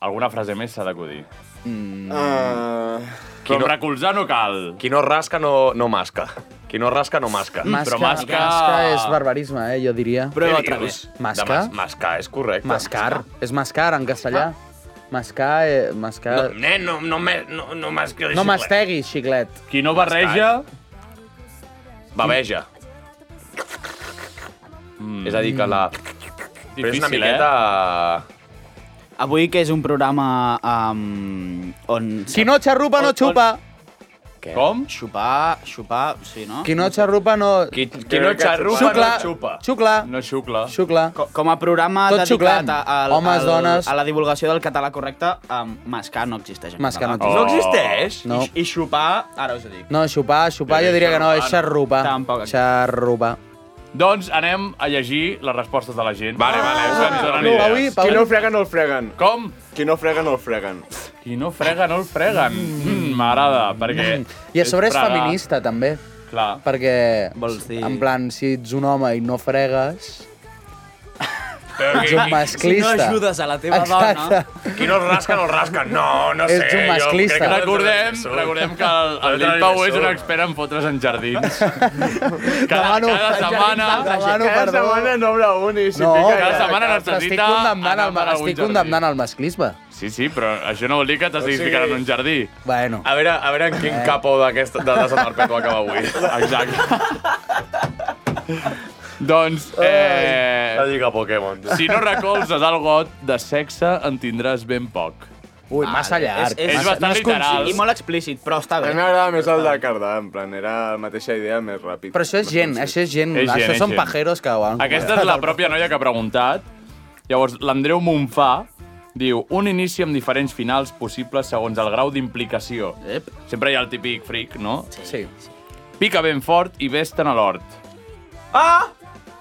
[SPEAKER 2] alguna frase més s'ha d'acudir.
[SPEAKER 6] Mm.
[SPEAKER 8] Uh,
[SPEAKER 2] Però recolzar no cal.
[SPEAKER 8] Qui no rasca no, no masca. Qui no rasca no masca.
[SPEAKER 6] Masca, masca... masca és barbarisme, eh, jo diria.
[SPEAKER 8] Prova Què otra dius? vez. De
[SPEAKER 6] Masca?
[SPEAKER 8] mas- mascar és correcte.
[SPEAKER 6] Mascar. És mascar en castellà. Mascar, eh, mascar...
[SPEAKER 8] No, nen, no, no, me- no, no masquis.
[SPEAKER 6] No masteguis, xiclet.
[SPEAKER 2] Qui no
[SPEAKER 8] barreja- Baveja. És a dir, que la... Però és una
[SPEAKER 7] Difícil,
[SPEAKER 8] miqueta...
[SPEAKER 7] Avui que és un programa um, on...
[SPEAKER 6] Qui no xarrupa no xupa.
[SPEAKER 7] Què?
[SPEAKER 2] Com?
[SPEAKER 7] Xupar, xupar, sí, no?
[SPEAKER 6] Qui no xarrupa no...
[SPEAKER 8] Qui,
[SPEAKER 7] qui no xarrupa no xupa.
[SPEAKER 6] Xucla.
[SPEAKER 2] No xucla.
[SPEAKER 6] Xucla.
[SPEAKER 7] Co- Com a programa
[SPEAKER 6] Tot
[SPEAKER 7] dedicat
[SPEAKER 6] xuclant.
[SPEAKER 7] a, a,
[SPEAKER 6] Homes,
[SPEAKER 7] al-
[SPEAKER 6] dones.
[SPEAKER 7] a la divulgació del català correcte, um, mascar no existeix en
[SPEAKER 6] Mascar no
[SPEAKER 7] català.
[SPEAKER 6] existeix.
[SPEAKER 7] No.
[SPEAKER 6] No existeix? No.
[SPEAKER 7] I, I xupar, ara us ho dic.
[SPEAKER 6] No, xupar, xupar, jo diria que no, és xarrupa.
[SPEAKER 2] Tampoc.
[SPEAKER 6] Xarrupa.
[SPEAKER 2] Doncs anem a llegir les respostes de la gent. Vale, vale. Ah, ens donen
[SPEAKER 9] No,
[SPEAKER 2] idees.
[SPEAKER 9] avui, Qui no el frega, no el freguen.
[SPEAKER 2] Com?
[SPEAKER 9] Qui no frega, no el freguen.
[SPEAKER 2] Qui no frega, no el freguen. Mm, M'agrada, perquè...
[SPEAKER 6] Mm. I a sobre és
[SPEAKER 2] fregar.
[SPEAKER 6] feminista, també.
[SPEAKER 2] Clar.
[SPEAKER 6] Perquè,
[SPEAKER 2] Vols dir-
[SPEAKER 6] en plan, si ets un home i no fregues...
[SPEAKER 8] Però
[SPEAKER 6] Ets
[SPEAKER 8] qui-
[SPEAKER 6] un masclista.
[SPEAKER 8] Si no ajudes
[SPEAKER 7] a la
[SPEAKER 8] teva dona. Qui no rasca, no rasca. No, no sé.
[SPEAKER 6] Ets un masclista.
[SPEAKER 8] Jo crec que
[SPEAKER 2] Recordem, recordem que el, el Lil Pau és un expert en fotre's en jardins. Cada,
[SPEAKER 9] Demano-
[SPEAKER 2] cada setmana...
[SPEAKER 9] Demano Cada
[SPEAKER 6] perdó.
[SPEAKER 9] setmana n'obre un i s'hi
[SPEAKER 6] No,
[SPEAKER 9] pica.
[SPEAKER 2] cada setmana
[SPEAKER 6] Estic
[SPEAKER 2] necessita...
[SPEAKER 6] condemnant,
[SPEAKER 2] anar
[SPEAKER 6] el,
[SPEAKER 2] a algun
[SPEAKER 6] estic
[SPEAKER 2] jardí.
[SPEAKER 6] condemnant el masclisme.
[SPEAKER 2] Sí, sí, però això no vol dir que t'estiguis
[SPEAKER 8] sigui-
[SPEAKER 2] ficant en un jardí.
[SPEAKER 6] Bueno.
[SPEAKER 2] Ah,
[SPEAKER 8] A veure, a veure en
[SPEAKER 6] Eh.
[SPEAKER 8] quin capo d'aquesta de, de Sant Perpètua acaba avui.
[SPEAKER 2] Exacte. doncs... Eh,
[SPEAKER 8] La lliga Pokémon.
[SPEAKER 2] Si no recolzes el got, de sexe en tindràs ben poc.
[SPEAKER 6] Ui,
[SPEAKER 9] massa llarg.
[SPEAKER 7] És, és,
[SPEAKER 9] Massa-
[SPEAKER 7] bastant
[SPEAKER 9] no és concís.
[SPEAKER 7] literal. I molt explícit, però està
[SPEAKER 9] A
[SPEAKER 7] bé.
[SPEAKER 9] mi m'agrada més el de Cardà, en plan, era la mateixa idea més ràpid.
[SPEAKER 6] Però això és gent, això és gent.
[SPEAKER 2] És gent,
[SPEAKER 6] això
[SPEAKER 2] és
[SPEAKER 6] són
[SPEAKER 2] gent.
[SPEAKER 6] pajeros que ho han...
[SPEAKER 2] Aquesta és la pròpia noia que ha preguntat. Llavors, l'Andreu Monfà diu un inici amb diferents finals possibles segons el grau d'implicació. Sempre hi ha el típic fric, no?
[SPEAKER 6] Sí.
[SPEAKER 2] Pica ben fort i vés-te'n a l'hort.
[SPEAKER 8] Ah!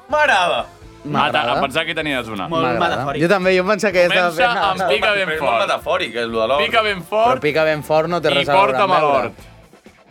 [SPEAKER 8] M'agrada.
[SPEAKER 2] Mata, em pensava que tenies una.
[SPEAKER 6] Jo també, jo em pensava que...
[SPEAKER 2] Comença
[SPEAKER 6] estava fent-
[SPEAKER 2] amb pica ben
[SPEAKER 8] Però és
[SPEAKER 2] fort.
[SPEAKER 8] molt metafòric, és lo de l'hort.
[SPEAKER 2] Pica ben
[SPEAKER 6] Però
[SPEAKER 2] fort
[SPEAKER 6] pica ben fort no té
[SPEAKER 2] i
[SPEAKER 6] res a veure
[SPEAKER 2] porta'm a
[SPEAKER 6] amb l'hort.
[SPEAKER 2] l'hort.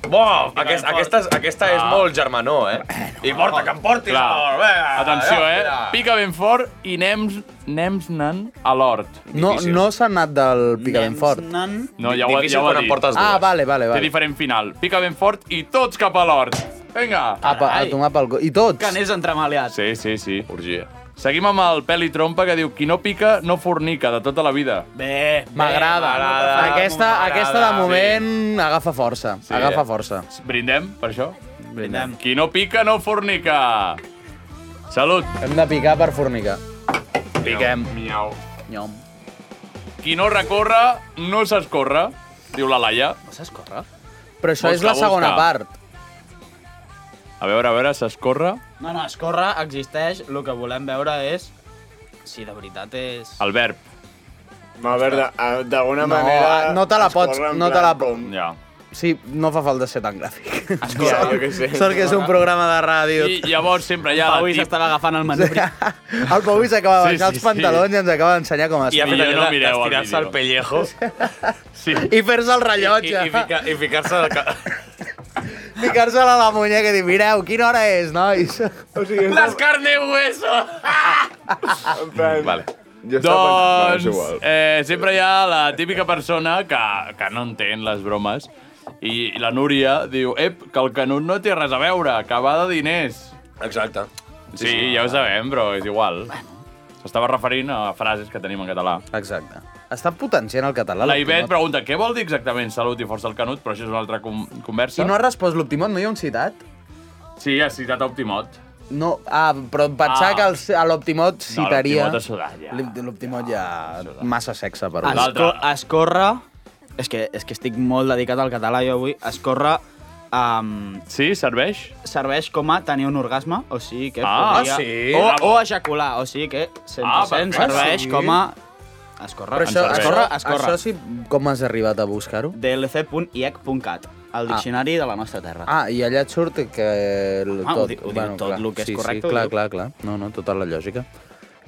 [SPEAKER 8] Bo, aquest, aquesta, és- aquesta és
[SPEAKER 2] Ah.
[SPEAKER 8] molt germanó, eh? I porta, que em portis
[SPEAKER 2] Clar.
[SPEAKER 8] l'hort, vinga.
[SPEAKER 2] Atenció, eh?
[SPEAKER 8] vinga.
[SPEAKER 2] Pica ben fort i nems, nems nan a l'hort.
[SPEAKER 6] No, no s'ha anat del pica ben fort.
[SPEAKER 2] No, ja ho,
[SPEAKER 6] Difícil
[SPEAKER 2] ja ho
[SPEAKER 6] quan
[SPEAKER 2] ha
[SPEAKER 6] en
[SPEAKER 2] dit.
[SPEAKER 6] portes dues. Ah, vale, vale, vale.
[SPEAKER 2] Té diferent final. Pica ben fort i tots cap a l'hort. Vinga.
[SPEAKER 6] A, pa, a tomar pel... co- I tots.
[SPEAKER 2] Caners entremaliats. Sí, sí, sí. Orgia. Seguim amb el pèl i trompa que diu qui no pica no fornica de tota la vida.
[SPEAKER 7] Bé,
[SPEAKER 6] M'agrada. Aquesta, aquesta de moment agafa força.
[SPEAKER 2] Sí.
[SPEAKER 6] Agafa força.
[SPEAKER 2] Brindem per això? Brindem. Qui no pica no fornica. Salut.
[SPEAKER 6] Hem de picar per fornicar.
[SPEAKER 2] Piquem. Miau. Miau. Qui no recorre no s'escorre, diu la Laia. No s'escorre?
[SPEAKER 6] Però això és la segona part.
[SPEAKER 2] A veure, a veure, s'escorre.
[SPEAKER 7] No, no, escorre, existeix. El que volem veure és si de veritat és...
[SPEAKER 2] El verb.
[SPEAKER 9] No, a veure, a- d'alguna
[SPEAKER 6] No,
[SPEAKER 9] manera...
[SPEAKER 6] no te la pots...
[SPEAKER 9] escorre en
[SPEAKER 6] No te
[SPEAKER 9] plan
[SPEAKER 6] la...
[SPEAKER 9] com-
[SPEAKER 2] Ja.
[SPEAKER 6] Sí, no fa falta ser tan gràfic.
[SPEAKER 9] Ja, jo què sé.
[SPEAKER 6] Sort que és un programa de ràdio.
[SPEAKER 2] I llavors sempre hi ha...
[SPEAKER 7] Avui s'estava agafant el menú.
[SPEAKER 6] El Pau Vís acaba de
[SPEAKER 7] Sí,
[SPEAKER 6] baixar
[SPEAKER 7] sí,
[SPEAKER 6] els pantalons i ens acaba d'ensenyar com es
[SPEAKER 8] I a
[SPEAKER 6] fa.
[SPEAKER 8] més allò de- d'estirar-se al pellejo.
[SPEAKER 2] Sí.
[SPEAKER 6] I fer-se el rellotge.
[SPEAKER 8] I, i, i, fica, i ficar-se... al ca-
[SPEAKER 6] Ficar-se-la a la muñeca i dir, mireu, quina hora és, nois?
[SPEAKER 9] O sigui,
[SPEAKER 8] Les carne i hueso!
[SPEAKER 2] Vale.
[SPEAKER 9] Jo estava pensant-
[SPEAKER 2] Doncs,
[SPEAKER 9] no, és igual.
[SPEAKER 2] eh, sempre hi ha la típica persona que, que no entén les bromes i la Núria diu ep, que el Canut no té res a veure, que va de diners.
[SPEAKER 8] Exacte.
[SPEAKER 2] Sí, sí, ja ho sabem, però és igual. S'estava referint a frases que tenim en català.
[SPEAKER 6] Exacte. Està potenciant el català.
[SPEAKER 2] La
[SPEAKER 6] l'Optimot.
[SPEAKER 2] Ivet pregunta què vol dir exactament salut i força al Canut, però això és una altra com conversa.
[SPEAKER 6] I no ha respost l'Optimot, no hi ha un citat?
[SPEAKER 2] Sí, ha citat Optimot.
[SPEAKER 6] No, ah, però em pensava
[SPEAKER 2] Ah.
[SPEAKER 6] que el, a l'Optimot citaria...
[SPEAKER 2] l'Optimot ha sudat, ja.
[SPEAKER 6] ja. L'Optimot ja...
[SPEAKER 7] Ah,
[SPEAKER 6] Massa sexe per un.
[SPEAKER 7] Esco escorre... És que, és que estic molt dedicat al català jo avui. Escorre... Um,
[SPEAKER 2] sí, serveix?
[SPEAKER 7] Serveix com a tenir un orgasme, o sigui que...
[SPEAKER 2] Ah,
[SPEAKER 7] podria-
[SPEAKER 2] sí.
[SPEAKER 7] O, o ejacular, o sigui que 100%
[SPEAKER 2] Ah, perfecte.
[SPEAKER 7] serveix
[SPEAKER 2] Sí.
[SPEAKER 7] com a... Escorre,
[SPEAKER 6] Però això,
[SPEAKER 7] ens serveix.
[SPEAKER 6] escorre,
[SPEAKER 7] escorre, escorre. E
[SPEAKER 6] això sí, com has arribat a buscar-ho?
[SPEAKER 7] dlc.iec.cat al diccionari ah. de la nostra terra.
[SPEAKER 6] Ah, i allà et surt que... El,
[SPEAKER 7] Home, Ah, ho di- ho diu tot
[SPEAKER 6] clar.
[SPEAKER 7] lo que és
[SPEAKER 6] sí,
[SPEAKER 7] correcte,
[SPEAKER 6] Sí,
[SPEAKER 7] ho
[SPEAKER 6] clar,
[SPEAKER 7] diu.
[SPEAKER 6] clar, clar. No, no, tota la lògica.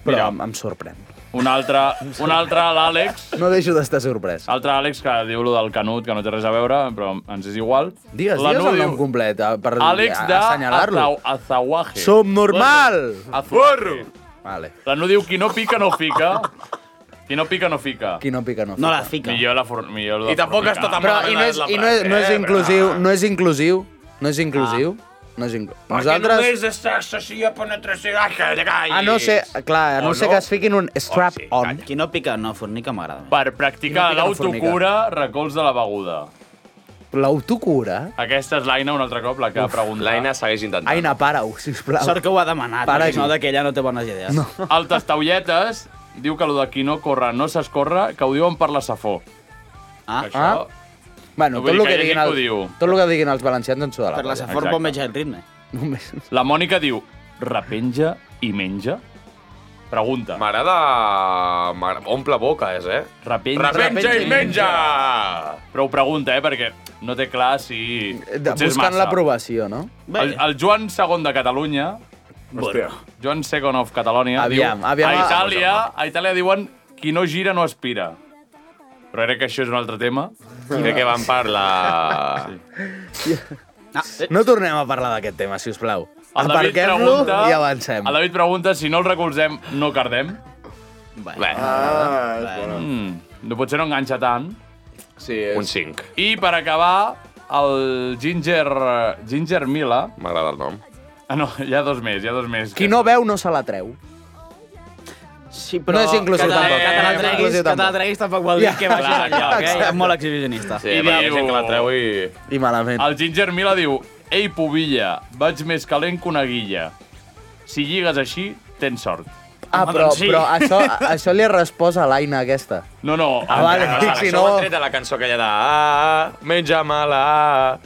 [SPEAKER 6] Però
[SPEAKER 2] Mira.
[SPEAKER 6] Mira. em sorprèn.
[SPEAKER 2] Un altre, un altre l'Àlex.
[SPEAKER 6] No deixo d'estar sorprès.
[SPEAKER 2] Altre Àlex que diu lo del Canut, que no té res a veure, però ens és igual.
[SPEAKER 6] Digues, digues el nom complet eh, per
[SPEAKER 2] Àlex de
[SPEAKER 6] assenyalar-lo.
[SPEAKER 2] Azau- Azahuaje.
[SPEAKER 6] Som normal!
[SPEAKER 2] Azurro.
[SPEAKER 6] Vale.
[SPEAKER 2] La no diu qui no pica no fica. Qui no pica no fica.
[SPEAKER 6] Qui no pica no fica.
[SPEAKER 7] No la fica.
[SPEAKER 2] Millor la for... Millor la
[SPEAKER 8] I tampoc
[SPEAKER 2] formica.
[SPEAKER 8] és tota
[SPEAKER 6] Però, i no és, i no és, no
[SPEAKER 8] Eh,
[SPEAKER 6] és inclusiu, no és inclusiu, no és inclusiu. No és inclusiu. Nosaltres,
[SPEAKER 8] és sexe si hi ha penetració. Ah, que
[SPEAKER 6] a no ser, clar, a no,
[SPEAKER 7] O
[SPEAKER 6] ser
[SPEAKER 7] no?
[SPEAKER 6] que es fiquin un strap-on.
[SPEAKER 7] Qui no pica no fornica m'agrada. més.
[SPEAKER 2] Per practicar
[SPEAKER 6] Qui no pica no
[SPEAKER 2] l'autocura, recolz de la beguda.
[SPEAKER 6] L'autocura?
[SPEAKER 2] Aquesta és l'Aina, un altre cop, la que ha preguntat.
[SPEAKER 8] L'Aina segueix intentant.
[SPEAKER 6] Aina, para-ho, sisplau.
[SPEAKER 7] Sort que ho ha demanat,
[SPEAKER 6] Para
[SPEAKER 7] perquè
[SPEAKER 6] aquí.
[SPEAKER 7] si no d'aquella no té bones idees. No.
[SPEAKER 2] El tastaulletes diu que lo de qui no corre no s'escorre, que ho diuen per la safó.
[SPEAKER 7] Ah.
[SPEAKER 2] Que Això...
[SPEAKER 6] Ah. Bueno,
[SPEAKER 2] No
[SPEAKER 6] tot
[SPEAKER 2] vull dir
[SPEAKER 6] el que,
[SPEAKER 2] que hi
[SPEAKER 6] diguin
[SPEAKER 2] ha
[SPEAKER 6] el,
[SPEAKER 2] gent que ho diu.
[SPEAKER 6] tot el que diguin els valencians ens ho de la
[SPEAKER 7] Per la
[SPEAKER 6] ratlla.
[SPEAKER 7] Safor
[SPEAKER 2] Exacte.
[SPEAKER 7] pot menjar el ritme.
[SPEAKER 6] Només.
[SPEAKER 2] La Mònica diu, repenja i menja? Pregunta.
[SPEAKER 8] M'agrada... m'agra- Omple boca, és, eh?
[SPEAKER 2] Repenja,
[SPEAKER 8] Repenja i menja!
[SPEAKER 2] Però ho pregunta, eh, perquè no té clar si...
[SPEAKER 6] Eh, De,
[SPEAKER 2] potser és
[SPEAKER 6] buscant
[SPEAKER 2] massa.
[SPEAKER 6] l'aprovació, no?
[SPEAKER 7] Bé.
[SPEAKER 2] El, el Joan II de Catalunya,
[SPEAKER 9] Hòstia.
[SPEAKER 2] Joan II of Catalunya,
[SPEAKER 6] Aviam,
[SPEAKER 2] diu...
[SPEAKER 6] aviam. ah,
[SPEAKER 2] A Itàlia, a Itàlia diuen qui no gira no aspira. Però crec que això és un altre tema.
[SPEAKER 8] Crec que van per la...
[SPEAKER 7] Ah, eh,
[SPEAKER 6] No tornem a parlar d'aquest tema, si us plau.
[SPEAKER 2] El David
[SPEAKER 6] Aparquem-lo
[SPEAKER 2] pregunta-
[SPEAKER 6] i avancem.
[SPEAKER 2] El David pregunta si no el recolzem, no cardem.
[SPEAKER 7] bé.
[SPEAKER 9] Ah, és bona.
[SPEAKER 2] Mm, no, potser no enganxa tant.
[SPEAKER 9] Sí, és...
[SPEAKER 8] Un 5.
[SPEAKER 2] I per acabar, el Ginger... Ginger Mila...
[SPEAKER 8] M'agrada el nom.
[SPEAKER 2] Ah, no, hi ha dos més, hi ha dos més.
[SPEAKER 6] Qui no veu no se la treu.
[SPEAKER 7] Sí,
[SPEAKER 6] No és inclusiu
[SPEAKER 7] que te-
[SPEAKER 6] tampoc.
[SPEAKER 7] Que te la
[SPEAKER 6] Eh,
[SPEAKER 7] treguis,
[SPEAKER 6] inclusiu
[SPEAKER 7] que te la
[SPEAKER 6] tampoc.
[SPEAKER 7] treguis tampoc vol dir
[SPEAKER 6] Ja.
[SPEAKER 7] que vagis
[SPEAKER 2] Clar,
[SPEAKER 7] enlloc, eh?
[SPEAKER 6] exacte.
[SPEAKER 7] És molt exhibicionista.
[SPEAKER 8] Sí,
[SPEAKER 2] I
[SPEAKER 8] perquè hi
[SPEAKER 2] diu-
[SPEAKER 8] ha gent que la treu i...
[SPEAKER 6] I malament.
[SPEAKER 2] El Ginger Mila diu... Ei, pubilla, vaig més calent que una guilla. Si lligues així, tens sort.
[SPEAKER 6] Ah,
[SPEAKER 7] Home,
[SPEAKER 6] però,
[SPEAKER 7] doncs sí.
[SPEAKER 6] però això, això li ha respost a l'Aina, aquesta.
[SPEAKER 2] No, no,
[SPEAKER 6] Ah,
[SPEAKER 2] en-
[SPEAKER 6] vale,
[SPEAKER 8] Ah,
[SPEAKER 6] si
[SPEAKER 8] això ho
[SPEAKER 6] no...
[SPEAKER 8] han tret de la cançó aquella de... Ah, menja mala...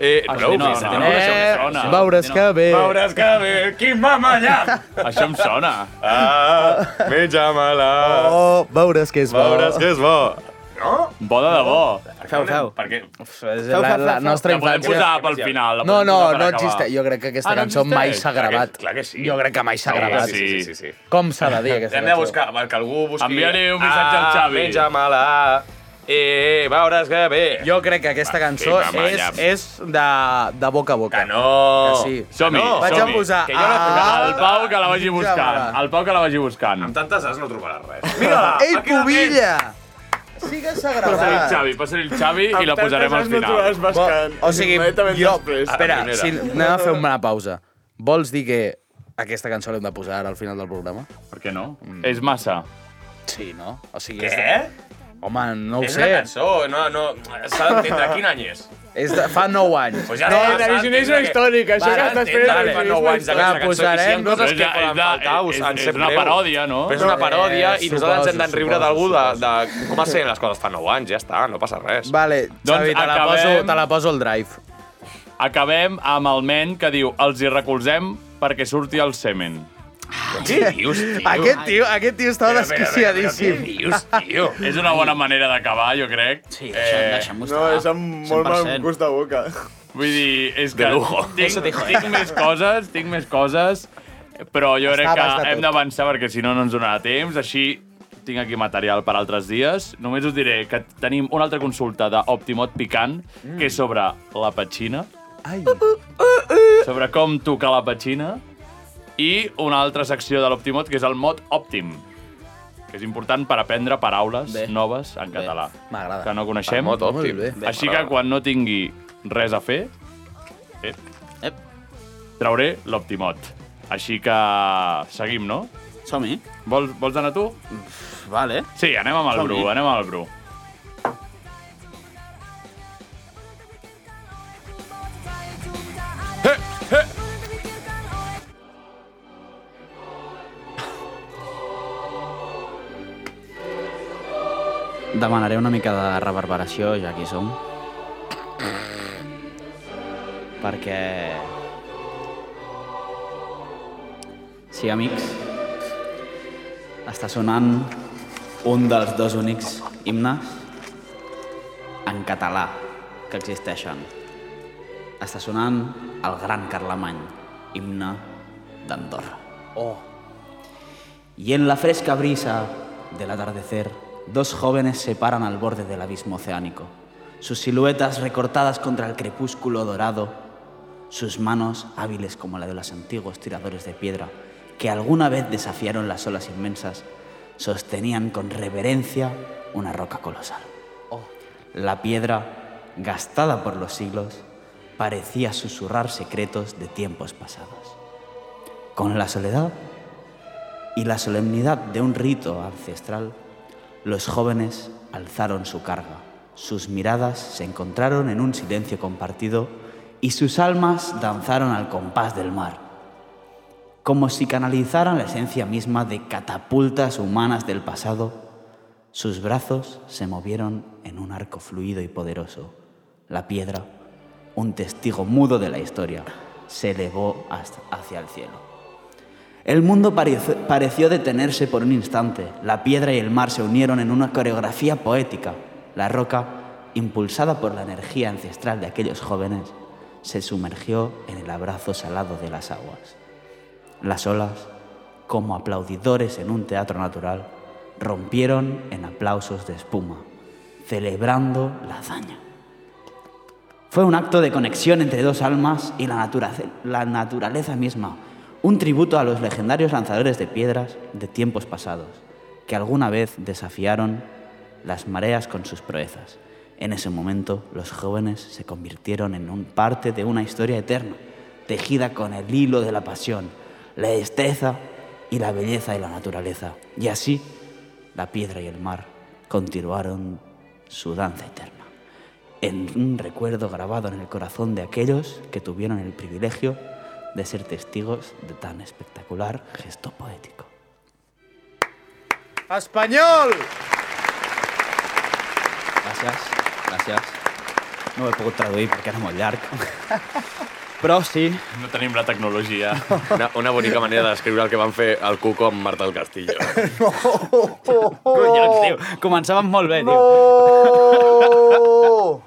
[SPEAKER 8] Eh,
[SPEAKER 2] Ah,
[SPEAKER 8] no,
[SPEAKER 2] sí, no,
[SPEAKER 8] no,
[SPEAKER 2] no.
[SPEAKER 8] no, no,
[SPEAKER 2] Eh,
[SPEAKER 8] no,
[SPEAKER 2] sona.
[SPEAKER 6] veuràs que bé.
[SPEAKER 8] Veuràs que bé, quin m'ha mallat!
[SPEAKER 2] això em sona.
[SPEAKER 8] Ah, menja mala...
[SPEAKER 6] Oh, veuràs que és bo.
[SPEAKER 8] Veuràs que és bo.
[SPEAKER 2] Bo de debò.
[SPEAKER 7] Feu, feu.
[SPEAKER 2] Perquè
[SPEAKER 6] És la, la nostra
[SPEAKER 2] la podem
[SPEAKER 6] infància...
[SPEAKER 2] posar pel final. la
[SPEAKER 6] No,
[SPEAKER 2] podem
[SPEAKER 6] no,
[SPEAKER 2] posar per
[SPEAKER 6] no
[SPEAKER 2] acabar.
[SPEAKER 6] existeix. Jo crec que aquesta
[SPEAKER 2] Ah, no
[SPEAKER 6] cançó mai
[SPEAKER 2] existeix?
[SPEAKER 6] s'ha gravat.
[SPEAKER 8] Clar que sí.
[SPEAKER 6] Jo crec que mai s'ha
[SPEAKER 8] Sí,
[SPEAKER 6] gravat.
[SPEAKER 8] Sí, sí, sí. sí, sí.
[SPEAKER 6] Com s'ha de dir aquesta
[SPEAKER 8] Hem de
[SPEAKER 6] cançó?
[SPEAKER 8] buscar, va, que algú busqui...
[SPEAKER 2] Envia-li un missatge al Xavi.
[SPEAKER 8] Ah, menja mala... Eh, veuràs que bé.
[SPEAKER 6] Jo crec que aquesta cançó
[SPEAKER 8] sí, mama,
[SPEAKER 6] és,
[SPEAKER 8] ja.
[SPEAKER 6] és de, de boca a boca.
[SPEAKER 8] Que no.
[SPEAKER 6] Que sí.
[SPEAKER 2] Som-hi,
[SPEAKER 8] No,
[SPEAKER 6] Vaig a
[SPEAKER 2] som-hi.
[SPEAKER 6] posar... Ah.
[SPEAKER 8] que jo la
[SPEAKER 6] a-
[SPEAKER 2] El Pau que la vagi
[SPEAKER 6] Ginger
[SPEAKER 2] buscant.
[SPEAKER 6] Mala.
[SPEAKER 2] El Pau que la vagi buscant.
[SPEAKER 8] Amb tantes as no trobaràs res. Mira-la!
[SPEAKER 6] Ei,
[SPEAKER 8] aquí la
[SPEAKER 6] pubilla! Ah, Sí que s'ha
[SPEAKER 2] Passa-li el
[SPEAKER 6] gravat.
[SPEAKER 2] Xavi, passa-li el Xavi i la posarem al final.
[SPEAKER 6] Bo- o sigui, jo... Espera,
[SPEAKER 8] primera.
[SPEAKER 6] si, anem a fer una pausa. Vols dir que aquesta cançó l'hem de posar ara al final del programa?
[SPEAKER 2] Per què no? Mm. És massa.
[SPEAKER 6] Sí, no? O sigui,
[SPEAKER 8] tens.
[SPEAKER 6] és de...
[SPEAKER 8] Què?
[SPEAKER 6] Home, no ho
[SPEAKER 8] És
[SPEAKER 6] sé.
[SPEAKER 8] una cançó, no, no, s'ha d'entendre quin any és.
[SPEAKER 6] És de... Fa 9 anys.
[SPEAKER 8] Pues ja no, no revisionisme històric, això que estàs fent és fa 9 anys
[SPEAKER 6] La
[SPEAKER 8] d'aquesta cançó. I si hi ha
[SPEAKER 6] posarem,
[SPEAKER 8] coses
[SPEAKER 2] no? És-
[SPEAKER 8] que poden
[SPEAKER 2] és-
[SPEAKER 8] faltar, us
[SPEAKER 2] és-
[SPEAKER 8] en
[SPEAKER 2] és
[SPEAKER 8] sap
[SPEAKER 2] una
[SPEAKER 8] greu.
[SPEAKER 2] paròdia, no?
[SPEAKER 8] Però És una paròdia
[SPEAKER 6] Eh,
[SPEAKER 8] i nosaltres
[SPEAKER 6] suposo,
[SPEAKER 8] ens hem d'enriure
[SPEAKER 6] suposo,
[SPEAKER 8] d'algú de,
[SPEAKER 6] suposo.
[SPEAKER 8] de com es feien les coses fa 9 anys, ja està, no passa res.
[SPEAKER 6] Vale,
[SPEAKER 2] Doncs
[SPEAKER 6] Xavi, te la, poso,
[SPEAKER 2] acabem.
[SPEAKER 6] te la poso al drive.
[SPEAKER 2] Acabem amb el men que diu els hi recolzem perquè surti el semen.
[SPEAKER 8] Què dius, tio?
[SPEAKER 6] Aquest tio, aquest tio estava
[SPEAKER 8] Què
[SPEAKER 6] desquiciadíssim.
[SPEAKER 8] dius, tio?
[SPEAKER 2] És una bona manera d'acabar, jo crec.
[SPEAKER 7] Sí, deixa'm, deixa'm
[SPEAKER 9] No,
[SPEAKER 7] mostrar.
[SPEAKER 9] és amb molt mal gust de boca.
[SPEAKER 2] Vull dir, és que
[SPEAKER 8] De lujo.
[SPEAKER 2] tinc, tinc més coses, tinc més coses, però jo crec
[SPEAKER 6] Estaves
[SPEAKER 2] que
[SPEAKER 6] de tot.
[SPEAKER 2] hem d'avançar perquè si no no ens donarà temps, així tinc aquí material per altres dies. Només us diré que tenim una altra consulta d'Optimot Picant, que és sobre la petxina,
[SPEAKER 6] Ai,
[SPEAKER 2] sobre com tocar la petxina, i una altra secció de l'Optimot, que és el mot òptim, que és important per aprendre paraules
[SPEAKER 7] Bé.
[SPEAKER 2] noves en
[SPEAKER 7] Bé.
[SPEAKER 2] català,
[SPEAKER 6] M'agrada.
[SPEAKER 2] que no coneixem.
[SPEAKER 8] Mot
[SPEAKER 6] Molt
[SPEAKER 8] òptim.
[SPEAKER 6] bé.
[SPEAKER 2] Així que quan no tingui res a fer, ep,
[SPEAKER 7] Ep.
[SPEAKER 2] trauré l'Optimot. Així que seguim, no?
[SPEAKER 7] Som-hi.
[SPEAKER 2] Vols, vols anar tu?
[SPEAKER 7] Vale.
[SPEAKER 2] Sí, anem amb el
[SPEAKER 7] Som-hi.
[SPEAKER 2] Bru, anem amb el Bru.
[SPEAKER 7] Demanaré una mica de reverberació, ja que hi som. Perquè... Sí, amics. Està sonant un dels dos únics himnes en català que existeixen. Està sonant el Gran Carlemany, himne d'Andorra. Oh. Y en la fresca brisa del atardecer, dos jóvenes se paran al borde del abismo oceánico. Sus siluetas recortadas contra el crepúsculo dorado, sus manos hábiles como la de los antiguos tiradores de piedra que alguna vez desafiaron las olas inmensas, sostenían con reverencia una roca colosal. La piedra, gastada por los siglos, parecía susurrar secretos de tiempos pasados. Con la soledad y la solemnidad de un rito ancestral, los jóvenes alzaron su carga. Sus miradas se encontraron en un silencio compartido y sus almas danzaron al compás del mar, como si canalizaran la esencia misma de catapultas humanas del pasado sus brazos se movieron en un arco fluido y poderoso. La piedra, un testigo mudo de la historia, se elevó hasta- hacia el cielo. El mundo parece- pareció detenerse por un instante. La piedra y el mar se unieron en una coreografía poética. La roca, impulsada por la energía ancestral de aquellos jóvenes, se sumergió en el abrazo salado de las aguas. Las olas, como aplaudidores en un teatro natural, rompieron en aplausos de espuma, celebrando la hazaña. Fue un acto de conexión entre dos almas y la, natura- la naturaleza misma, un tributo a los legendarios lanzadores de piedras de tiempos pasados, que alguna vez desafiaron las mareas con sus proezas. En ese momento, los jóvenes se convirtieron en un parte de una historia eterna, tejida con el hilo de la pasión, la destreza y la belleza de la naturaleza. Y así, la piedra y el mar continuaron su danza eterna, en un recuerdo grabado en el corazón de aquellos que tuvieron el privilegio de ser testigos de tan espectacular gesto poético.
[SPEAKER 6] Espanyol!
[SPEAKER 7] Gràcies, gràcies. No ho he pogut traduir perquè era molt llarg. Però sí...
[SPEAKER 2] No tenim la tecnologia.
[SPEAKER 8] Una, una bonica manera de descriure el que van fer el Cuco amb Marta del Castillo.
[SPEAKER 7] Collons, tio, començàvem molt bé, tio.
[SPEAKER 11] Oh!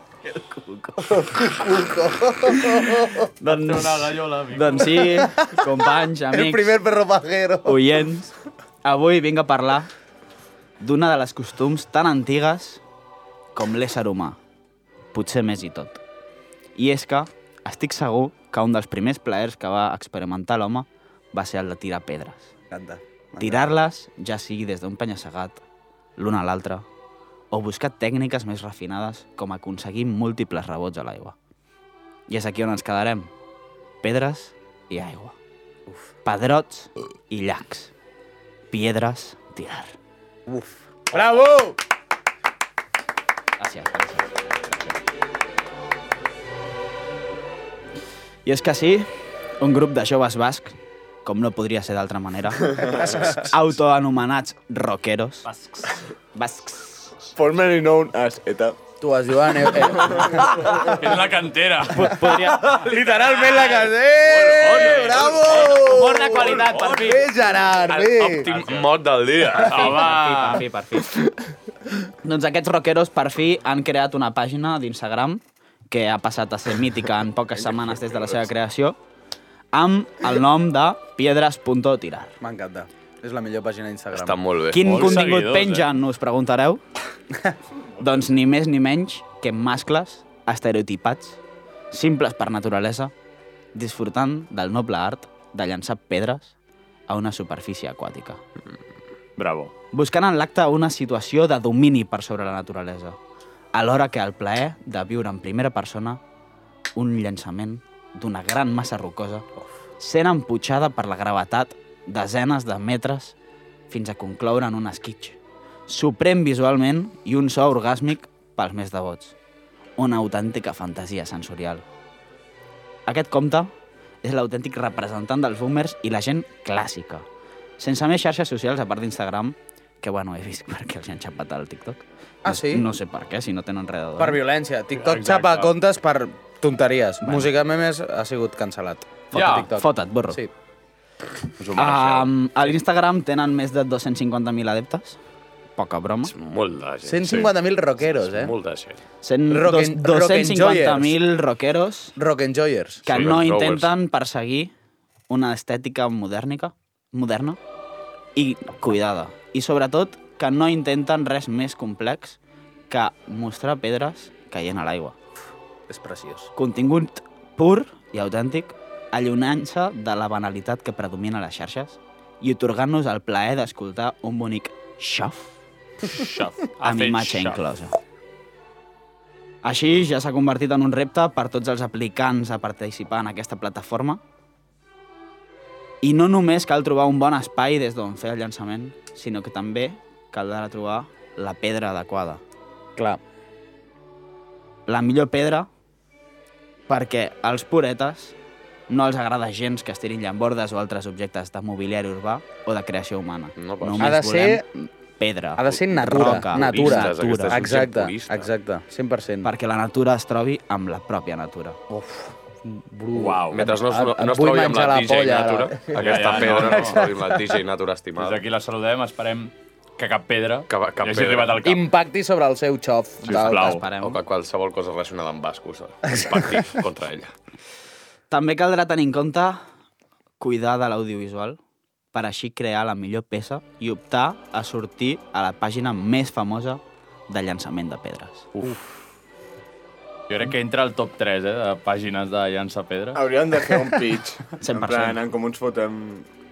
[SPEAKER 7] Doncs,
[SPEAKER 11] Té una gallola, amico.
[SPEAKER 7] doncs sí, companys, amics...
[SPEAKER 11] El primer
[SPEAKER 6] perro pajero.
[SPEAKER 7] Oients, avui vinc a parlar d'una de les costums tan antigues com l'ésser humà, potser més i tot. I és que estic segur que un dels primers plaers que va experimentar l'home va ser el de tirar pedres.
[SPEAKER 6] M'encanta.
[SPEAKER 7] Tirar-les, ja sigui des d'un penya-segat, l'una a l'altra, o buscar tècniques més refinades com aconseguir múltiples rebots a l'aigua. I és aquí on ens quedarem. Pedres i aigua. Uf. Pedrots i llacs. Piedres, tirar. Uf.
[SPEAKER 6] Bravo!
[SPEAKER 7] Gràcies, gràcies. I és que sí, un grup de joves bascs, com no podria ser d'altra manera, autoanomenats rockeros, bascs, bascs
[SPEAKER 9] Formerly known as ETA.
[SPEAKER 6] Tu has Joan, eh,
[SPEAKER 2] És la cantera.
[SPEAKER 7] Podria...
[SPEAKER 6] Literalment la casa. Eh, bravo!
[SPEAKER 7] Molt de qualitat, per fi.
[SPEAKER 6] Bé, Gerard, bé.
[SPEAKER 8] Òptim mot del dia.
[SPEAKER 7] Per fi, per fi, per fi. doncs aquests rockeros per fi han creat una pàgina d'Instagram que ha passat a ser mítica en poques setmanes des de la seva creació amb el nom de piedres.tirar.
[SPEAKER 6] M'encanta. És la millor pàgina d'Instagram.
[SPEAKER 8] Està molt bé.
[SPEAKER 7] Quin contingut pengen, us preguntareu? doncs ni més ni menys que mascles estereotipats, simples per naturalesa, disfrutant del noble art de llançar pedres a una superfície aquàtica.
[SPEAKER 2] Bravo.
[SPEAKER 7] Buscant en l'acte una situació de domini per sobre la naturalesa, alhora que el plaer de viure en primera persona un llançament d'una gran massa rocosa sent emputxada per la gravetat desenes de metres fins a concloure en un esquitx. Suprem visualment i un so orgàsmic pels més devots. Una autèntica fantasia sensorial. Aquest conte és l'autèntic representant dels boomers i la gent clàssica. Sense més xarxes socials, a part d'Instagram, que bueno, he vist perquè els han xapat al TikTok.
[SPEAKER 6] Ah,
[SPEAKER 7] No-
[SPEAKER 6] sí?
[SPEAKER 7] No sé per què, si no tenen res de
[SPEAKER 6] Per violència. TikTok xapa comptes per tonteries.
[SPEAKER 7] Bueno.
[SPEAKER 6] Música memes ha sigut cancel·lat. Fot
[SPEAKER 7] Ja,
[SPEAKER 6] TikTok.
[SPEAKER 7] fota't, burro. Ah, mm,
[SPEAKER 6] Sí.
[SPEAKER 7] Um, a l'Instagram tenen més de 250.000 adeptes, poca broma. És
[SPEAKER 8] molt de
[SPEAKER 6] gent, 150.000 sí. rockeros, És eh? molt
[SPEAKER 8] de gent.
[SPEAKER 6] Rock and- rock and joyers.
[SPEAKER 7] 250.000 rockeros
[SPEAKER 6] Rock and Joyers.
[SPEAKER 7] que no intenten perseguir una estètica modèrnica, moderna i cuidada. I sobretot que no intenten res més complex que mostrar pedres caient a l'aigua.
[SPEAKER 6] És preciós.
[SPEAKER 7] Contingut pur i autèntic, allunyant-se de la banalitat que predomina a les xarxes i otorgant-nos el plaer d'escoltar un bonic xof
[SPEAKER 2] Xof. Ha
[SPEAKER 7] amb
[SPEAKER 2] fet
[SPEAKER 7] imatge
[SPEAKER 2] xof.
[SPEAKER 7] inclosa. Així ja s'ha convertit en un repte per tots els aplicants a participar en aquesta plataforma. I no només cal trobar un bon espai des d'on fer el llançament, sinó que també caldrà trobar la pedra adequada.
[SPEAKER 6] Clar.
[SPEAKER 7] La millor pedra perquè als puretes no els agrada gens que es tirin llambordes o altres objectes de mobiliari urbà o de creació humana. No Només
[SPEAKER 6] Ha de
[SPEAKER 7] volem
[SPEAKER 6] ser-
[SPEAKER 7] pedra.
[SPEAKER 6] Ha de ser natura,
[SPEAKER 7] roca,
[SPEAKER 6] natura.
[SPEAKER 7] natura.
[SPEAKER 6] Puristes, aquesta és un gent Exacte, purista. exacte, 100%.
[SPEAKER 7] Perquè la natura es trobi amb la pròpia natura.
[SPEAKER 6] Uf,
[SPEAKER 8] Uau. Mentre no, es-
[SPEAKER 6] Em-
[SPEAKER 8] no,
[SPEAKER 6] em
[SPEAKER 8] no es
[SPEAKER 6] vull
[SPEAKER 8] trobi amb la
[SPEAKER 6] menjar la
[SPEAKER 8] tija
[SPEAKER 6] polla, ara.
[SPEAKER 8] natura,
[SPEAKER 6] Ja,
[SPEAKER 8] aquesta
[SPEAKER 6] ja,
[SPEAKER 8] pedra
[SPEAKER 6] no,
[SPEAKER 8] no, es
[SPEAKER 6] no.
[SPEAKER 8] trobi amb la tija natura estimada.
[SPEAKER 2] Des d'aquí la saludem, esperem que cap pedra
[SPEAKER 8] que, que
[SPEAKER 2] hagi arribat al cap.
[SPEAKER 6] Impacti sobre el seu xof. del-
[SPEAKER 8] o oh, que qualsevol cosa relacionada amb bascos impacti contra ella.
[SPEAKER 7] També caldrà tenir en compte cuidar de l'audiovisual per així crear la millor peça i optar a sortir a la pàgina més famosa de llançament de pedres. Uf.
[SPEAKER 2] Jo crec que entra al top 3, eh, de pàgines de llança pedra.
[SPEAKER 9] Hauríem de fer un pitch.
[SPEAKER 2] 100%.
[SPEAKER 9] En plan, en com ens fotem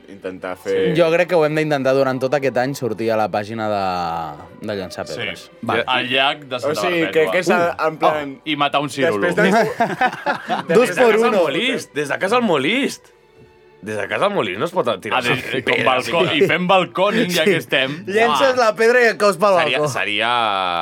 [SPEAKER 9] intentar fer...
[SPEAKER 6] Sí. Jo crec que ho hem d'intentar durant tot aquest any sortir a la pàgina de, de llançar pedres.
[SPEAKER 2] Sí. Vale. Al llac de Santa
[SPEAKER 9] O sigui,
[SPEAKER 2] Perpètua.
[SPEAKER 9] que- que és a- en plan-
[SPEAKER 2] Oh, I matar un cirulo.
[SPEAKER 9] Després
[SPEAKER 8] Des de casa al molist, des de casa al molist. Des de casa al molist no es pot tirar
[SPEAKER 2] Ah, des- com balcó- i fem balcòning, ja que estem.
[SPEAKER 6] Llences la pedra i et caus pel balcó.
[SPEAKER 8] seria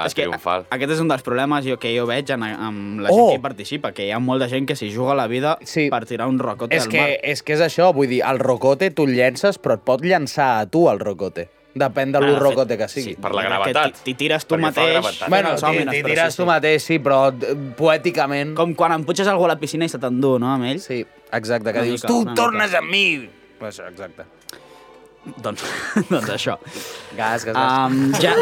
[SPEAKER 7] és que triomfal. Aquest és un dels problemes jo, que jo veig en, amb la
[SPEAKER 6] Oh!
[SPEAKER 7] gent oh. que hi participa, que hi ha molta gent que s'hi juga la vida sí. per tirar un rocote
[SPEAKER 6] És
[SPEAKER 7] al
[SPEAKER 6] que,
[SPEAKER 7] mar.
[SPEAKER 6] és que és això, vull dir, el rocote tu el llences, però et pot llançar a tu el rocote. Depèn de
[SPEAKER 7] Ah,
[SPEAKER 6] lo
[SPEAKER 7] de fet,
[SPEAKER 6] rocote que sigui.
[SPEAKER 7] per la Que gravetat. t'hi- t'hi tires tu Perquè fa mateix gravetat.
[SPEAKER 6] Bueno,
[SPEAKER 7] fent els
[SPEAKER 6] t'hi
[SPEAKER 7] hòmines,
[SPEAKER 6] t'hi
[SPEAKER 7] però
[SPEAKER 6] tires
[SPEAKER 7] sí,
[SPEAKER 6] tu mateix, sí, però eh, poèticament...
[SPEAKER 7] Com quan emputxes algú a la piscina i se t'endú, no, amb ell?
[SPEAKER 6] Sí, exacte, que
[SPEAKER 7] Una
[SPEAKER 6] dius,
[SPEAKER 7] mica,
[SPEAKER 6] tu
[SPEAKER 7] una mica.
[SPEAKER 6] tornes amb mi! Pues, exacte.
[SPEAKER 7] Doncs, doncs això.
[SPEAKER 6] Gas, gas, gas.
[SPEAKER 7] Um, ja...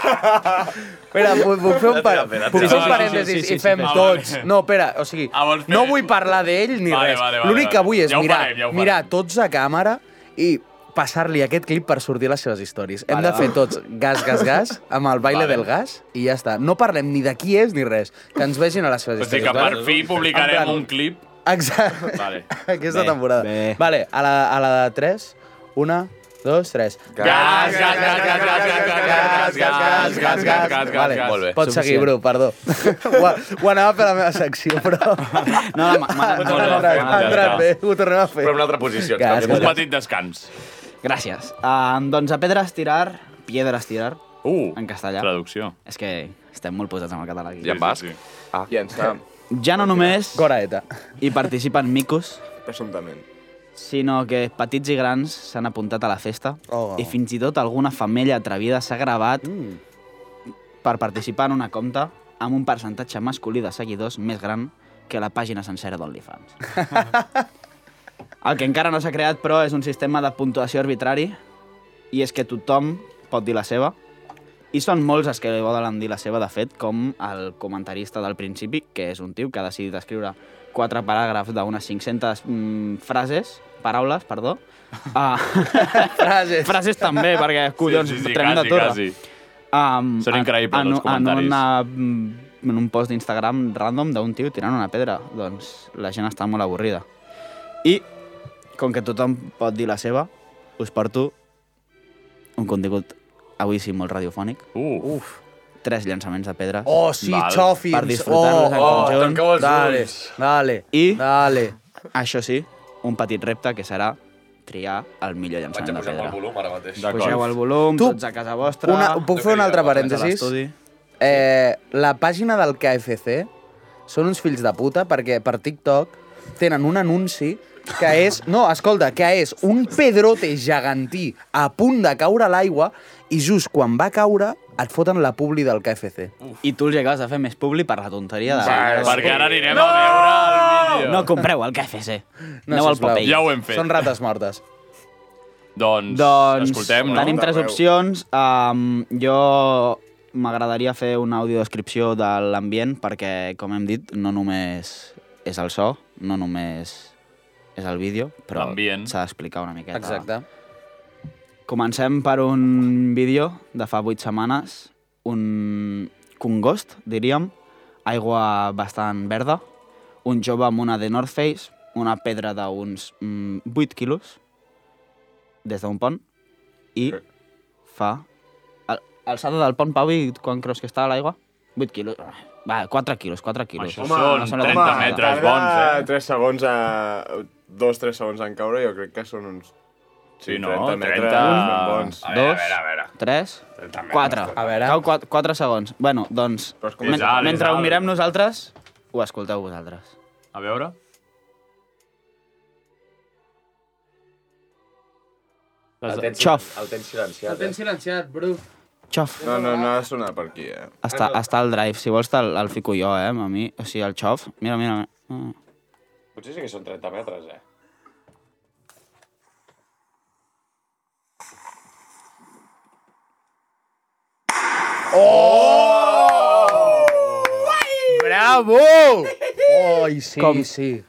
[SPEAKER 6] Espera, pu- puc fer un, par
[SPEAKER 7] Espera, espera,
[SPEAKER 6] puc fer
[SPEAKER 7] espera.
[SPEAKER 6] un parèntesis
[SPEAKER 7] Sí, sí, sí, sí,
[SPEAKER 6] i fem
[SPEAKER 7] sí, sí.
[SPEAKER 6] tots.
[SPEAKER 7] Ah, vale.
[SPEAKER 6] No, espera, o sigui, no vull parlar d'ell ni
[SPEAKER 2] Ah, Vale,
[SPEAKER 6] res.
[SPEAKER 2] vale, vale,
[SPEAKER 6] L'únic que
[SPEAKER 2] vale.
[SPEAKER 6] vull és
[SPEAKER 2] Ja ho
[SPEAKER 6] mirar,
[SPEAKER 2] farem, ja ho
[SPEAKER 6] mirar tots a càmera i passar-li aquest clip per sortir les seves històries. Hem
[SPEAKER 2] Vale,
[SPEAKER 6] de fer
[SPEAKER 2] vale.
[SPEAKER 6] tots gas, gas, gas, amb el baile
[SPEAKER 2] Vale.
[SPEAKER 6] del gas, i ja està. No parlem ni de qui és ni res. Que ens vegin a les seves
[SPEAKER 2] O sigui
[SPEAKER 6] històries.
[SPEAKER 2] que per
[SPEAKER 6] vale?
[SPEAKER 2] fi
[SPEAKER 6] En
[SPEAKER 2] publicarem
[SPEAKER 6] plan,
[SPEAKER 2] un clip.
[SPEAKER 6] Exacte.
[SPEAKER 2] Vale.
[SPEAKER 6] Aquesta
[SPEAKER 2] Bé,
[SPEAKER 6] temporada.
[SPEAKER 2] bé.
[SPEAKER 6] Vale, a la, a la de 3, 1, 2, 3.
[SPEAKER 2] Gas, gas, gas, gas, gas, gas, gas, gas, gas, gas, gas, gas,
[SPEAKER 6] Vale,
[SPEAKER 2] gas.
[SPEAKER 6] molt bé. Pots seguir, Bru, perdó. ho, ho anava per la meva secció, però...
[SPEAKER 7] No, m'ha
[SPEAKER 6] entrat- ha entrat bé, ho tornem a fer.
[SPEAKER 8] Però en una altra posició.
[SPEAKER 6] Gas,
[SPEAKER 2] Un
[SPEAKER 6] gas, gas.
[SPEAKER 2] petit descans.
[SPEAKER 7] Gràcies. Uh, doncs a pedra estirar, piedra estirar, uh, en castellà.
[SPEAKER 2] Traducció.
[SPEAKER 7] És que estem molt posats amb el català aquí.
[SPEAKER 8] I en basc? Sí, Ah.
[SPEAKER 9] I en Sam.
[SPEAKER 7] Ja no només
[SPEAKER 6] Goraeta.
[SPEAKER 7] hi participen micos,
[SPEAKER 9] Presumptament.
[SPEAKER 7] sinó que petits i grans s'han apuntat a la festa
[SPEAKER 9] Oh.
[SPEAKER 7] i fins i tot alguna femella atrevida s'ha gravat mm. per participar en una compta amb un percentatge masculí de seguidors més gran que la pàgina sencera d'OnlyFans. El que encara no s'ha creat, però, és un sistema de puntuació arbitrari i és que tothom pot dir la seva i són molts els que volen dir la seva, de fet, com el comentarista del principi, que és un tio que ha decidit escriure quatre paràgrafs d'unes 500 mm, frases, paraules, perdó. Ah.
[SPEAKER 6] frases.
[SPEAKER 7] Frases també, perquè, collons,
[SPEAKER 2] Sí, sí, sí,
[SPEAKER 7] tremenda
[SPEAKER 2] quasi,
[SPEAKER 7] torre.
[SPEAKER 2] quasi.
[SPEAKER 7] Um,
[SPEAKER 2] Són increïbles,
[SPEAKER 7] en,
[SPEAKER 2] els comentaris.
[SPEAKER 7] En, una, mm, en un post d'Instagram random d'un tio tirant una pedra. Doncs la gent està molt avorrida. I, com que tothom pot dir la seva, us porto un contingut avui sí molt radiofònic.
[SPEAKER 2] Uh.
[SPEAKER 7] Uf. Tres llançaments de pedres.
[SPEAKER 6] Oh, sí, Val. xofis.
[SPEAKER 7] Per disfrutar-los en
[SPEAKER 6] Oh, oh,
[SPEAKER 7] conjunt.
[SPEAKER 6] tanqueu els Dale, ulls. Dale,
[SPEAKER 7] I,
[SPEAKER 6] dale.
[SPEAKER 7] això sí, un petit repte que serà triar el millor llançament de pedra.
[SPEAKER 8] ara mateix.
[SPEAKER 7] Pugeu el volum,
[SPEAKER 6] Tu-
[SPEAKER 7] tots a casa vostra.
[SPEAKER 6] Una, puc fer un altre parèntesis? Eh, la pàgina del KFC són uns fills de puta perquè per TikTok tenen un anunci que és... No, escolta, que és un pedrote gegantí a punt de caure a l'aigua i just quan va caure et foten la publi del KFC.
[SPEAKER 7] I tu els hi acabes de fer més publi per la tonteria de...
[SPEAKER 6] Sí, perquè
[SPEAKER 2] ara anirem a veure el vídeo.
[SPEAKER 7] No compreu el KFC. No, eh? Aneu al
[SPEAKER 6] sisplau.
[SPEAKER 7] Popeye.
[SPEAKER 2] Ja ho hem fet.
[SPEAKER 6] Són rates mortes.
[SPEAKER 2] Doncs,
[SPEAKER 7] Doncs
[SPEAKER 2] escoltem, no?
[SPEAKER 7] tenim tres opcions. Um, jo m'agradaria fer una audiodescripció de l'ambient perquè, com hem dit, no només és el so, no només és el vídeo, però s'ha d'explicar una miqueta.
[SPEAKER 6] Exacte.
[SPEAKER 7] Comencem per un vídeo de fa vuit setmanes, un congost, diríem, aigua bastant verda, un jove amb una de North Face, una pedra d'uns mm, 8 quilos, des d'un pont, i fa... al- Alçada del pont, Pau, i quan creus que està a l'aigua? 8 quilos. Va, 4 quilos, 4 quilos.
[SPEAKER 9] Home, home, tarda
[SPEAKER 2] eh?
[SPEAKER 9] 3 segons a... 2-3 segons en caure, jo crec que són uns...
[SPEAKER 2] Sí, no?
[SPEAKER 9] 30 metres
[SPEAKER 2] 30,
[SPEAKER 9] ben bons.
[SPEAKER 2] a
[SPEAKER 7] Dos,
[SPEAKER 2] a veure.
[SPEAKER 7] tres,
[SPEAKER 2] metres,
[SPEAKER 7] quatre.
[SPEAKER 2] A
[SPEAKER 6] veure.
[SPEAKER 7] Cau quatre, quatre segons. Bueno, doncs,
[SPEAKER 2] Però és com-
[SPEAKER 7] men-
[SPEAKER 2] És alt, és
[SPEAKER 7] mentre ho
[SPEAKER 2] alt.
[SPEAKER 7] mirem nosaltres, ho escolteu vosaltres.
[SPEAKER 2] A veure.
[SPEAKER 7] El tens- Xof.
[SPEAKER 8] El tens silenciat.
[SPEAKER 11] El tens silenciat, bro.
[SPEAKER 7] Xof.
[SPEAKER 9] No, no, no ha de sonar per aquí, eh?
[SPEAKER 7] Està, està al drive, si vols te'l el fico jo, eh, a mi. O sigui, el xof, mira, mira. mira. Ah,
[SPEAKER 8] Potser sí que són 30 metres, eh?
[SPEAKER 6] Bravo! Oi, sí,
[SPEAKER 2] Com-
[SPEAKER 6] sí.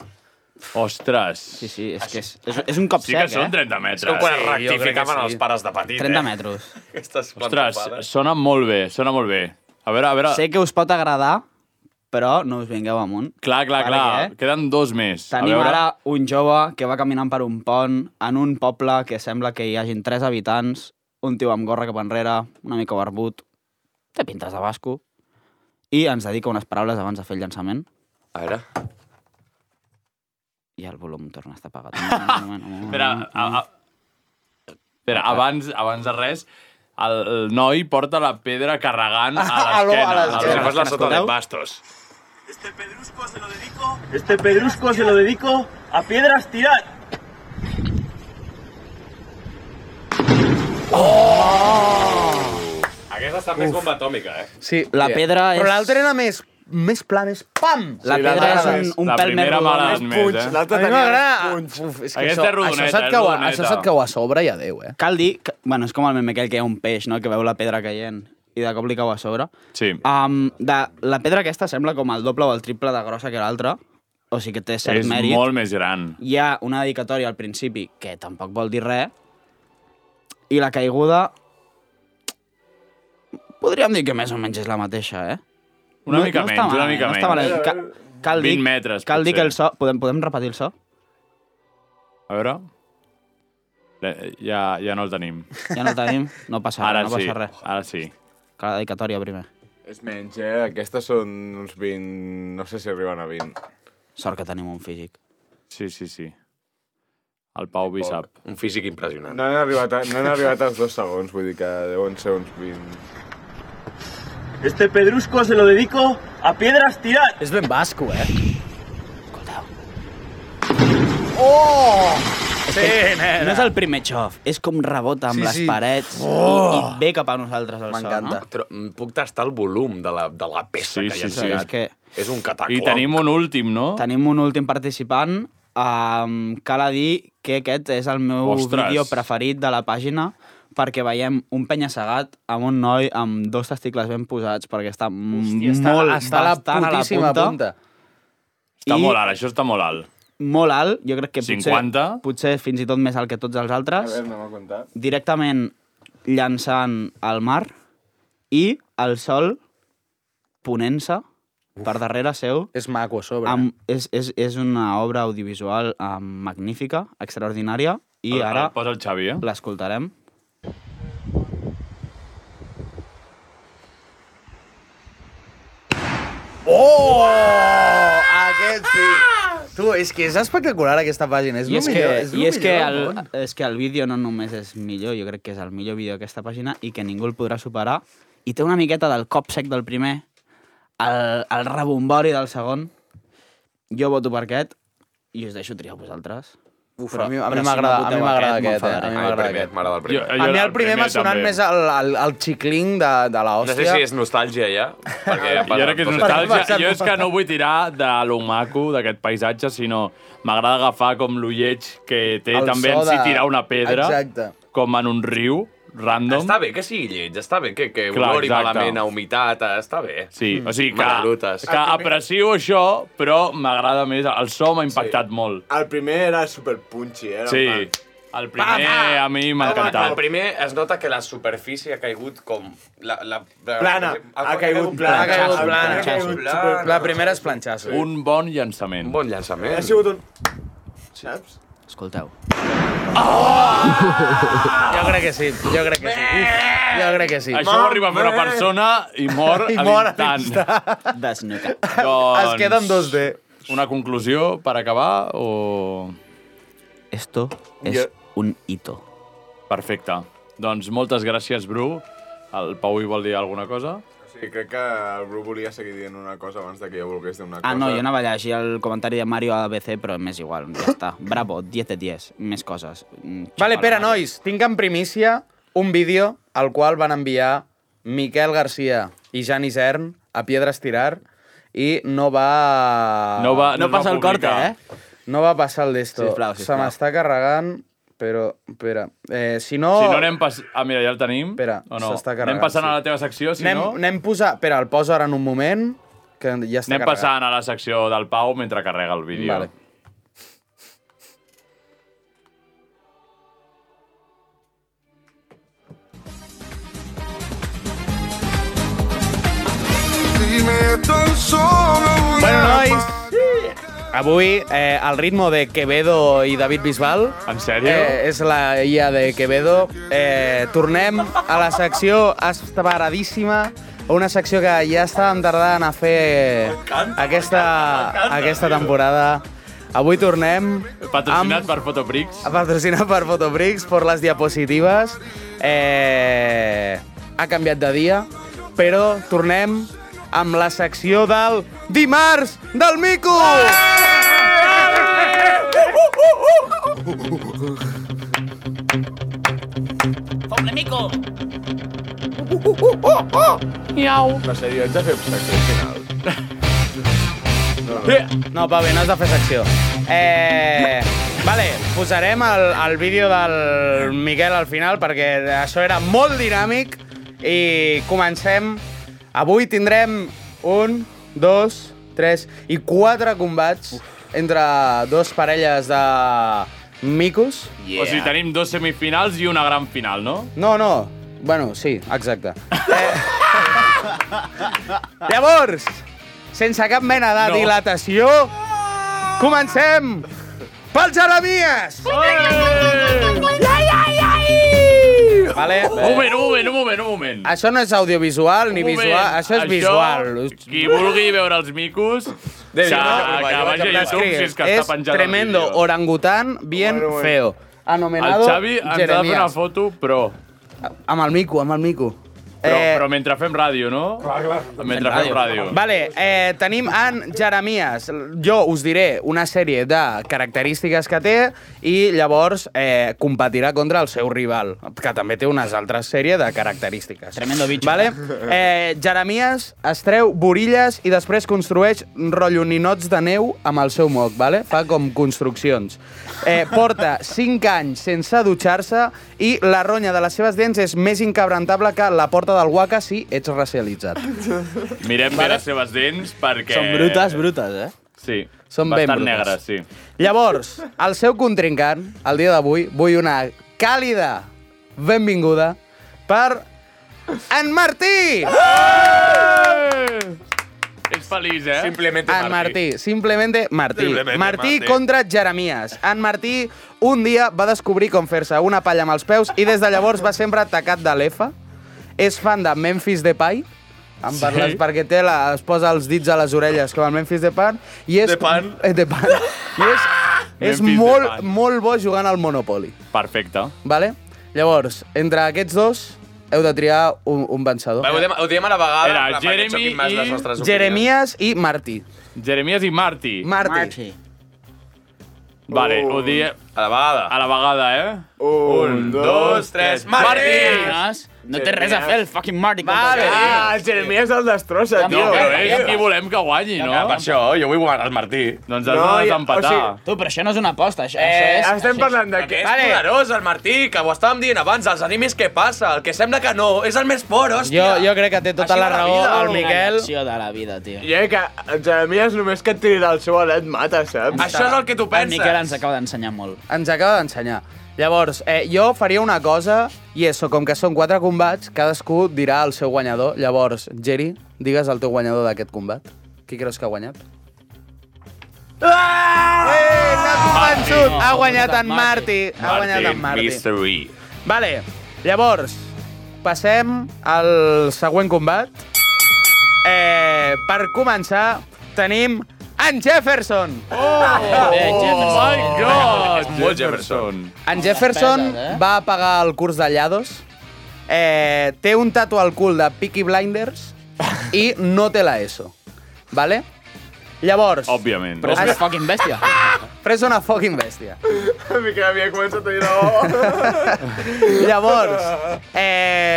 [SPEAKER 2] Ostres. Sí,
[SPEAKER 7] sí, és que és, és, és un cop
[SPEAKER 2] sí
[SPEAKER 7] sec,
[SPEAKER 2] que són
[SPEAKER 7] eh?
[SPEAKER 2] 30 metres.
[SPEAKER 8] És com quan es rectificaven els pares de petit,
[SPEAKER 7] 30
[SPEAKER 8] eh?
[SPEAKER 7] metres.
[SPEAKER 8] Aquestes
[SPEAKER 2] Ostres, sona molt bé, sona molt bé. A veure, a veure...
[SPEAKER 7] Sé que us pot agradar, però no us vingueu amunt.
[SPEAKER 2] Clar, clar, clar. Queden dos més.
[SPEAKER 7] eh? Tenim
[SPEAKER 2] a veure...
[SPEAKER 7] ara un jove que va caminant per un pont en un poble que sembla que hi hagin tres habitants, un tio amb gorra cap enrere, una mica barbut, té pintes de basco, i ens dedica unes paraules abans de fer el llançament.
[SPEAKER 8] A veure.
[SPEAKER 7] I el volum torna a estar apagat. Un moment, un moment, un moment.
[SPEAKER 2] Espera, a, a... Espera, abans, abans de res, el, el noi porta la pedra carregant a
[SPEAKER 8] A lo- a
[SPEAKER 2] l'esquena.
[SPEAKER 8] l'esquena. Si fas la sota de
[SPEAKER 2] bastos.
[SPEAKER 12] Este pedrusco se lo dedico a piedras tirar.
[SPEAKER 8] Aquesta està més
[SPEAKER 6] Uf.
[SPEAKER 8] bomba atòmica, eh?
[SPEAKER 6] Sí,
[SPEAKER 7] La pedra és-
[SPEAKER 6] Però l'altra era més, més pla, més pam!
[SPEAKER 7] La Sí, la pedra és un- un La pèl més primera rodona. m'agrada més,
[SPEAKER 6] punx.
[SPEAKER 7] eh?
[SPEAKER 6] A mi
[SPEAKER 7] tenia
[SPEAKER 6] m'agrada...
[SPEAKER 7] més punx.
[SPEAKER 6] Uf, És que
[SPEAKER 7] Aquesta
[SPEAKER 6] això,
[SPEAKER 7] és rodoneta,
[SPEAKER 6] això se't
[SPEAKER 7] és
[SPEAKER 6] cau, a-
[SPEAKER 7] rodoneta.
[SPEAKER 6] això se't cau a sobre i adéu, eh?
[SPEAKER 7] Cal dir... Que, bueno, és com el meme aquell que hi ha un peix, no?, que veu la pedra caient i de cop li cau a sobre.
[SPEAKER 2] Sí.
[SPEAKER 7] Um, de, la pedra aquesta sembla com el doble o el triple de grossa que l'altra, o sigui que té cert
[SPEAKER 2] És
[SPEAKER 7] mèrit.
[SPEAKER 2] molt més gran.
[SPEAKER 7] Hi ha una dedicatòria al principi que tampoc vol dir res, i la caiguda... Podríem dir que més o menys és la mateixa, eh?
[SPEAKER 2] Una mica
[SPEAKER 7] està
[SPEAKER 2] menys, una
[SPEAKER 7] malament,
[SPEAKER 2] mica
[SPEAKER 7] no està
[SPEAKER 2] menys.
[SPEAKER 7] malament. Ca, cal dir,
[SPEAKER 2] 20 metres,
[SPEAKER 7] Cal dir que el
[SPEAKER 2] potser.
[SPEAKER 7] so... Podem, podem repetir el so?
[SPEAKER 2] A veure... Eh, Ja, ja no el tenim.
[SPEAKER 7] Ja no el tenim? No passa res,
[SPEAKER 2] Ara
[SPEAKER 7] no passa
[SPEAKER 2] sí.
[SPEAKER 7] res.
[SPEAKER 2] Ara sí.
[SPEAKER 7] Cal la dedicatòria primer.
[SPEAKER 9] És menys, eh? Aquestes són uns 20... No sé si arriben a 20.
[SPEAKER 7] Sort que tenim un físic.
[SPEAKER 2] Sí, sí, sí. El Pau Bissap.
[SPEAKER 8] Un físic impressionant.
[SPEAKER 9] No han arribat, a, no han arribat als dos segons, vull dir que deuen ser uns 20...
[SPEAKER 12] Este pedrusco se lo dedico a piedras tirar.
[SPEAKER 6] És ben basco, eh?
[SPEAKER 7] Oh!
[SPEAKER 6] Sí, nena.
[SPEAKER 7] No és el primer xof, és com rebota amb
[SPEAKER 8] Sí,
[SPEAKER 7] sí, les
[SPEAKER 8] sí.
[SPEAKER 7] parets i,
[SPEAKER 8] Oh!
[SPEAKER 7] i ve cap a nosaltres el so, no?
[SPEAKER 8] Però mm, puc tastar el volum de la, de la peça
[SPEAKER 2] Sí,
[SPEAKER 8] que
[SPEAKER 2] sí,
[SPEAKER 8] hi ha
[SPEAKER 2] sí, és
[SPEAKER 7] que...
[SPEAKER 8] És un cataclop.
[SPEAKER 2] un últim, no?
[SPEAKER 7] Tenim un últim participant. Um, cal a dir que aquest és el meu
[SPEAKER 2] Ostres.
[SPEAKER 7] vídeo preferit de la pàgina perquè veiem un penya-segat amb un noi amb dos testicles ben posats perquè està Hòstia,
[SPEAKER 6] està-
[SPEAKER 7] molt,
[SPEAKER 6] està a la
[SPEAKER 7] bastant a la
[SPEAKER 6] putíssima
[SPEAKER 7] punta.
[SPEAKER 6] punta.
[SPEAKER 2] Està
[SPEAKER 7] I-
[SPEAKER 2] molt alt, això està molt alt.
[SPEAKER 7] Molt alt, jo crec que potser,
[SPEAKER 2] 50?
[SPEAKER 7] potser fins i tot més alt que tots els
[SPEAKER 9] A
[SPEAKER 7] altres.
[SPEAKER 9] veure, no m'ha contat.
[SPEAKER 7] directament llançant al mar i el sol ponent-se per darrere seu.
[SPEAKER 6] És maco, a sobre.
[SPEAKER 7] Amb, és, és, és una obra audiovisual um, magnífica, extraordinària, i
[SPEAKER 2] Ara-
[SPEAKER 7] ara
[SPEAKER 2] ara posa el Xavi, eh?
[SPEAKER 7] l'escoltarem.
[SPEAKER 6] Oh! Aquest sí. Tu, és que és espectacular aquesta pàgina. És
[SPEAKER 7] I
[SPEAKER 6] lo
[SPEAKER 7] és que,
[SPEAKER 6] millor, és lo
[SPEAKER 7] i és, que
[SPEAKER 6] millor del
[SPEAKER 7] el,
[SPEAKER 6] món.
[SPEAKER 7] és que el vídeo no només és millor, jo crec que és el millor vídeo d'aquesta pàgina i que ningú el podrà superar. I té una miqueta del cop sec del primer, el, el rebombori del segon. Jo voto per aquest i us deixo triar vosaltres.
[SPEAKER 6] Uf, a mi- a mi m'agrada- a mi m'agrada aquest, eh? A mi m'agrada aquest. a mi el primer m'ha sonat més el, el, el xicling de, de
[SPEAKER 8] No
[SPEAKER 6] l'hòstia.
[SPEAKER 8] sé si és nostàlgia, ja. Perquè ja
[SPEAKER 2] Jo crec que és nostàlgia.
[SPEAKER 6] passat,
[SPEAKER 2] Jo és que no vull tirar de lo maco d'aquest paisatge, sinó m'agrada agafar com lo lleig que té
[SPEAKER 6] El
[SPEAKER 2] també
[SPEAKER 6] so
[SPEAKER 2] en si
[SPEAKER 6] de-
[SPEAKER 2] tirar una pedra.
[SPEAKER 6] Exacte.
[SPEAKER 2] com en un riu random.
[SPEAKER 8] Està bé que sigui lleig, està bé que, que
[SPEAKER 2] Clar,
[SPEAKER 8] olori
[SPEAKER 2] exacte.
[SPEAKER 8] malament a humitat, està bé.
[SPEAKER 2] Sí, o sigui que,
[SPEAKER 8] Malalutes.
[SPEAKER 2] que aprecio això, però m'agrada més. El so m'ha impactat molt.
[SPEAKER 9] El primer era super punchy, eh? era
[SPEAKER 2] Sí,
[SPEAKER 9] en
[SPEAKER 2] el primer a mi m'ha encantat.
[SPEAKER 8] El primer es nota que la superfície ha caigut com... La, la, la,
[SPEAKER 6] Plana.
[SPEAKER 8] Ha,
[SPEAKER 6] caigut plana.
[SPEAKER 8] plana.
[SPEAKER 6] Ha caigut plana.
[SPEAKER 8] Ha caigut plana.
[SPEAKER 6] La primera és planxasso.
[SPEAKER 2] Un bon llançament. Un
[SPEAKER 8] bon llançament.
[SPEAKER 9] Ha sigut un... Saps?
[SPEAKER 7] Escolteu.
[SPEAKER 6] Jo crec que sí, jo crec que sí. Jo crec que sí.
[SPEAKER 2] Això ho arriba a fer una persona i mor,
[SPEAKER 6] I
[SPEAKER 2] a
[SPEAKER 6] mor a
[SPEAKER 2] l'instant.
[SPEAKER 7] Desnucat.
[SPEAKER 2] Doncs,
[SPEAKER 6] Es queda en 2D.
[SPEAKER 2] Una conclusió per acabar o...
[SPEAKER 7] Esto es
[SPEAKER 2] Jo-
[SPEAKER 7] un hito.
[SPEAKER 2] Perfecte. Doncs moltes gràcies, Bru. El Pau hi vol dir alguna cosa?
[SPEAKER 6] Oh.
[SPEAKER 9] Sí, crec que el Bru volia seguir dient una cosa abans de que jo volgués dir una cosa.
[SPEAKER 7] Ah, no, jo anava a llegir el comentari de Mario a ABC, però m'és igual, ja està. Bravo, 10 de 10, més coses. Mm,
[SPEAKER 6] Vale, espera, nois, tinc en primícia un vídeo al qual van enviar Miquel Garcia i Jan Isern a Piedra Estirar i no va...
[SPEAKER 2] No va- No no passa va el corte, publicar.
[SPEAKER 6] No va passar el d'esto.
[SPEAKER 2] Sisplau,
[SPEAKER 6] Se
[SPEAKER 2] sisplau.
[SPEAKER 6] m'està carregant, però... Espera, eh, si no...
[SPEAKER 2] Si no anem pas... Ah, mira, ja el tenim. Espera,
[SPEAKER 6] no? s'està carregant,
[SPEAKER 2] Anem passant
[SPEAKER 6] sí.
[SPEAKER 2] a la teva secció, si
[SPEAKER 6] anem,
[SPEAKER 2] no...
[SPEAKER 6] anem posar... Espera, el poso ara en un moment, que ja està
[SPEAKER 2] Anem
[SPEAKER 6] carregat.
[SPEAKER 2] passant a la secció del Pau mentre carrega el vídeo.
[SPEAKER 6] Vale. Bueno, nois, avui eh, al ritmo de Quevedo i David Bisbal.
[SPEAKER 2] En sèrio?
[SPEAKER 6] Eh, és la IA de Quevedo. Eh, tornem a la secció esperadíssima, a una secció que ja estàvem tardant a fer aquesta, aquesta temporada. Avui tornem
[SPEAKER 2] Patrocinat per Fotoprix.
[SPEAKER 6] patrocinat per Fotoprix, per les diapositives. Eh, ha canviat de dia, però tornem amb la secció del dimarts del Mico!
[SPEAKER 7] Poble mico!
[SPEAKER 2] Miau.
[SPEAKER 9] No sé, jo haig de fer secció al final.
[SPEAKER 6] No, Pave, no has de fer secció. Eh, vale, posarem el, el vídeo del Miquel al final perquè això era molt dinàmic i comencem. Avui tindrem un, dos, tres i quatre combats entre dos parelles de micos.
[SPEAKER 2] O sigui, tenim dos semifinals i una gran final, no?
[SPEAKER 6] No, no. Bueno, sí, exacte. Eh... Llavors, sense cap mena de
[SPEAKER 2] No.
[SPEAKER 6] no. dilatació, comencem pel Jeremies!
[SPEAKER 2] Oh, Ai, ai, ai!
[SPEAKER 6] Vale,
[SPEAKER 2] Un moment, un moment, un moment, un moment.
[SPEAKER 6] Això no és audiovisual ni
[SPEAKER 2] Un moment.
[SPEAKER 6] visual, això és visual.
[SPEAKER 2] Qui vulgui veure els micos,
[SPEAKER 6] Déu,
[SPEAKER 2] s'ha-
[SPEAKER 6] jo
[SPEAKER 2] que
[SPEAKER 6] vaig
[SPEAKER 2] vagi a YouTube si és que està
[SPEAKER 6] és
[SPEAKER 2] penjat el
[SPEAKER 6] tremendo
[SPEAKER 2] vídeo.
[SPEAKER 6] orangután bien
[SPEAKER 2] bueno.
[SPEAKER 6] feo. Anomenado
[SPEAKER 2] El Xavi ens ha de fer
[SPEAKER 6] Jeremías.
[SPEAKER 2] una foto, però...
[SPEAKER 6] Amb el mico, amb el mico. Eh,
[SPEAKER 2] Però, però mentre fem ràdio, no? Clar, clar. Mentre fem ràdio.
[SPEAKER 6] Vale, eh, tenim en Jeremies. Jo us diré una sèrie de característiques que té i llavors eh, competirà contra el seu rival, que també té unes altres sèrie de característiques. Tremendo bitxo. Vale? Eh, Jeremies es treu borilles i després construeix rotllo ninots de neu amb el seu moc, vale? fa com construccions. Eh, porta 5 anys sense dutxar-se i la ronya de les seves dents és més incabrantable que la porta del guaca si ets racialitzat.
[SPEAKER 2] Mirem bé les seves dents perquè...
[SPEAKER 6] Són brutes, brutes, eh?
[SPEAKER 2] Sí.
[SPEAKER 6] Són ben
[SPEAKER 2] Bastant
[SPEAKER 6] brutes.
[SPEAKER 2] negres, sí.
[SPEAKER 6] Llavors, el seu contrincant, el dia d'avui, vull una càlida benvinguda per en Martí!
[SPEAKER 2] És feliç, eh?
[SPEAKER 8] Simplement
[SPEAKER 6] En Martí, simplemente Martí.
[SPEAKER 2] Simplemente
[SPEAKER 6] Martí
[SPEAKER 2] Martí.
[SPEAKER 6] contra Jeremies. En Martí un dia va descobrir com fer-se una palla amb els peus i des de llavors va sempre atacat de l'EFA. És fan de Memphis Depay, en
[SPEAKER 11] Sí.
[SPEAKER 6] parles perquè té la, es posa els dits a les orelles com el Memphis Depay. I és, Depay. Eh, Depay. I és, és
[SPEAKER 2] Memphis
[SPEAKER 6] molt,
[SPEAKER 2] Depay.
[SPEAKER 6] molt bo jugant al Monopoly.
[SPEAKER 2] Perfecte.
[SPEAKER 6] Vale? Llavors, entre aquests dos heu de triar Ah, un, un vencedor.
[SPEAKER 8] Va, ho, diem, ho diem a la vegada.
[SPEAKER 2] Era
[SPEAKER 8] en plan, perquè
[SPEAKER 2] Jeremy
[SPEAKER 8] xoquin més
[SPEAKER 2] i-
[SPEAKER 8] les nostres opinions.
[SPEAKER 6] Jeremies i Martí.
[SPEAKER 2] Jeremies i Martí.
[SPEAKER 6] Martí.
[SPEAKER 2] Vale, ho diem... A la vegada. A la vegada, eh?
[SPEAKER 9] Un,
[SPEAKER 2] dos, tres, Martí!
[SPEAKER 7] Martí!
[SPEAKER 11] No té res a fer el fucking Marty. Va,
[SPEAKER 9] Ah, el Jeremia és el destrossa, tio.
[SPEAKER 11] No, però és qui
[SPEAKER 2] volem que guanyi,
[SPEAKER 11] no?
[SPEAKER 6] Ah,
[SPEAKER 11] Per
[SPEAKER 13] això, jo vull guanyar el Martí.
[SPEAKER 2] Doncs
[SPEAKER 11] has
[SPEAKER 9] No,
[SPEAKER 11] de
[SPEAKER 9] ja-
[SPEAKER 11] desempatar.
[SPEAKER 9] o
[SPEAKER 11] Tu, però això no és una aposta, això,
[SPEAKER 9] Eh,
[SPEAKER 11] això és...
[SPEAKER 9] estem parlant de
[SPEAKER 11] que...
[SPEAKER 9] què?
[SPEAKER 13] És poderós, el Martí, que ho estàvem dient abans, als animis què passa? El que sembla que no, és el més fort, hòstia.
[SPEAKER 6] Jo- jo crec que té tota la raó el
[SPEAKER 11] Miquel. Una de la vida, tio.
[SPEAKER 9] I eh, que el Jeremies només que et tirarà el seu alet mata, saps?
[SPEAKER 11] El Miquel ens acaba d'ensenyar molt.
[SPEAKER 6] Ens acaba d'ensenyar. Llavors, eh, jo faria una cosa, i això, com que són quatre combats, cadascú dirà el seu guanyador. Llavors, Jerry, digues el teu guanyador d'aquest combat. Qui creus que ha guanyat? Ah! Eh, n'ha convençut! Ha guanyat en Martí. Ha guanyat en Martí.
[SPEAKER 8] Mystery.
[SPEAKER 2] E.
[SPEAKER 6] Vale, llavors, passem al següent combat. Eh, per començar, tenim en Jefferson.
[SPEAKER 11] Oh, Bé, Jefferson.
[SPEAKER 2] my
[SPEAKER 8] Oh.
[SPEAKER 2] God!
[SPEAKER 6] Molt
[SPEAKER 2] Jefferson.
[SPEAKER 6] En Jefferson
[SPEAKER 11] Peses, eh?
[SPEAKER 6] va pagar el curs de llados, eh, té un tatu al cul de Peaky Blinders i no té la ESO. Vale? Llavors...
[SPEAKER 2] Òbviament.
[SPEAKER 11] Però és una fucking bèstia.
[SPEAKER 6] Però és una fucking bèstia.
[SPEAKER 9] Miquel havia començat a dir no.
[SPEAKER 6] Llavors, eh,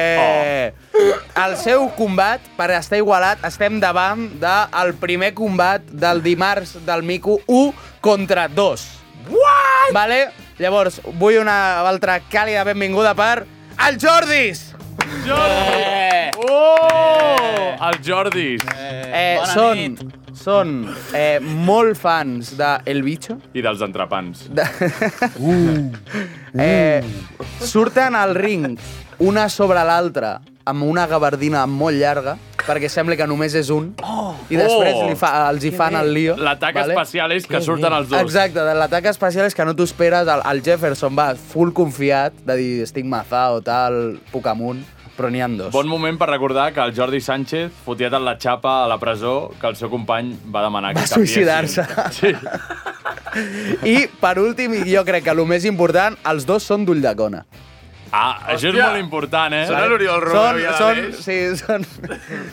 [SPEAKER 9] Oh.
[SPEAKER 6] el seu combat, per estar igualat, estem davant del primer combat del dimarts del Mico 1 contra 2. What? Vale? Llavors, vull una altra càlida benvinguda per el Jordis!
[SPEAKER 11] Eh!
[SPEAKER 2] Oh! El Jordis.
[SPEAKER 6] Eh, són són eh, molt fans de El Bicho.
[SPEAKER 2] I dels entrepans.
[SPEAKER 6] De... eh,
[SPEAKER 2] Mm.
[SPEAKER 6] surten al ring una sobre l'altra amb una gabardina molt llarga perquè sembla que només és un oh, i després
[SPEAKER 2] Oh!
[SPEAKER 6] li fa, els hi fan el lío.
[SPEAKER 2] L'atac espacial és que surten els dos.
[SPEAKER 6] Exacte, de l'atac espacial és que no t'ho esperes. El, el Jefferson va full confiat de dir estic mazao, tal, puc amunt, però n'hi ha dos.
[SPEAKER 2] Bon moment per recordar que el Jordi Sánchez fotiat en la xapa a la presó que el seu company va demanar que
[SPEAKER 6] Va
[SPEAKER 2] canviessin.
[SPEAKER 6] suïcidar-se.
[SPEAKER 2] Sí.
[SPEAKER 6] I, per últim, i jo crec que el més important, els dos són d'Ulldecona.
[SPEAKER 2] Ah, això és
[SPEAKER 6] Hòstia.
[SPEAKER 2] molt important, eh?
[SPEAKER 6] Vale? Són, són, sí, són,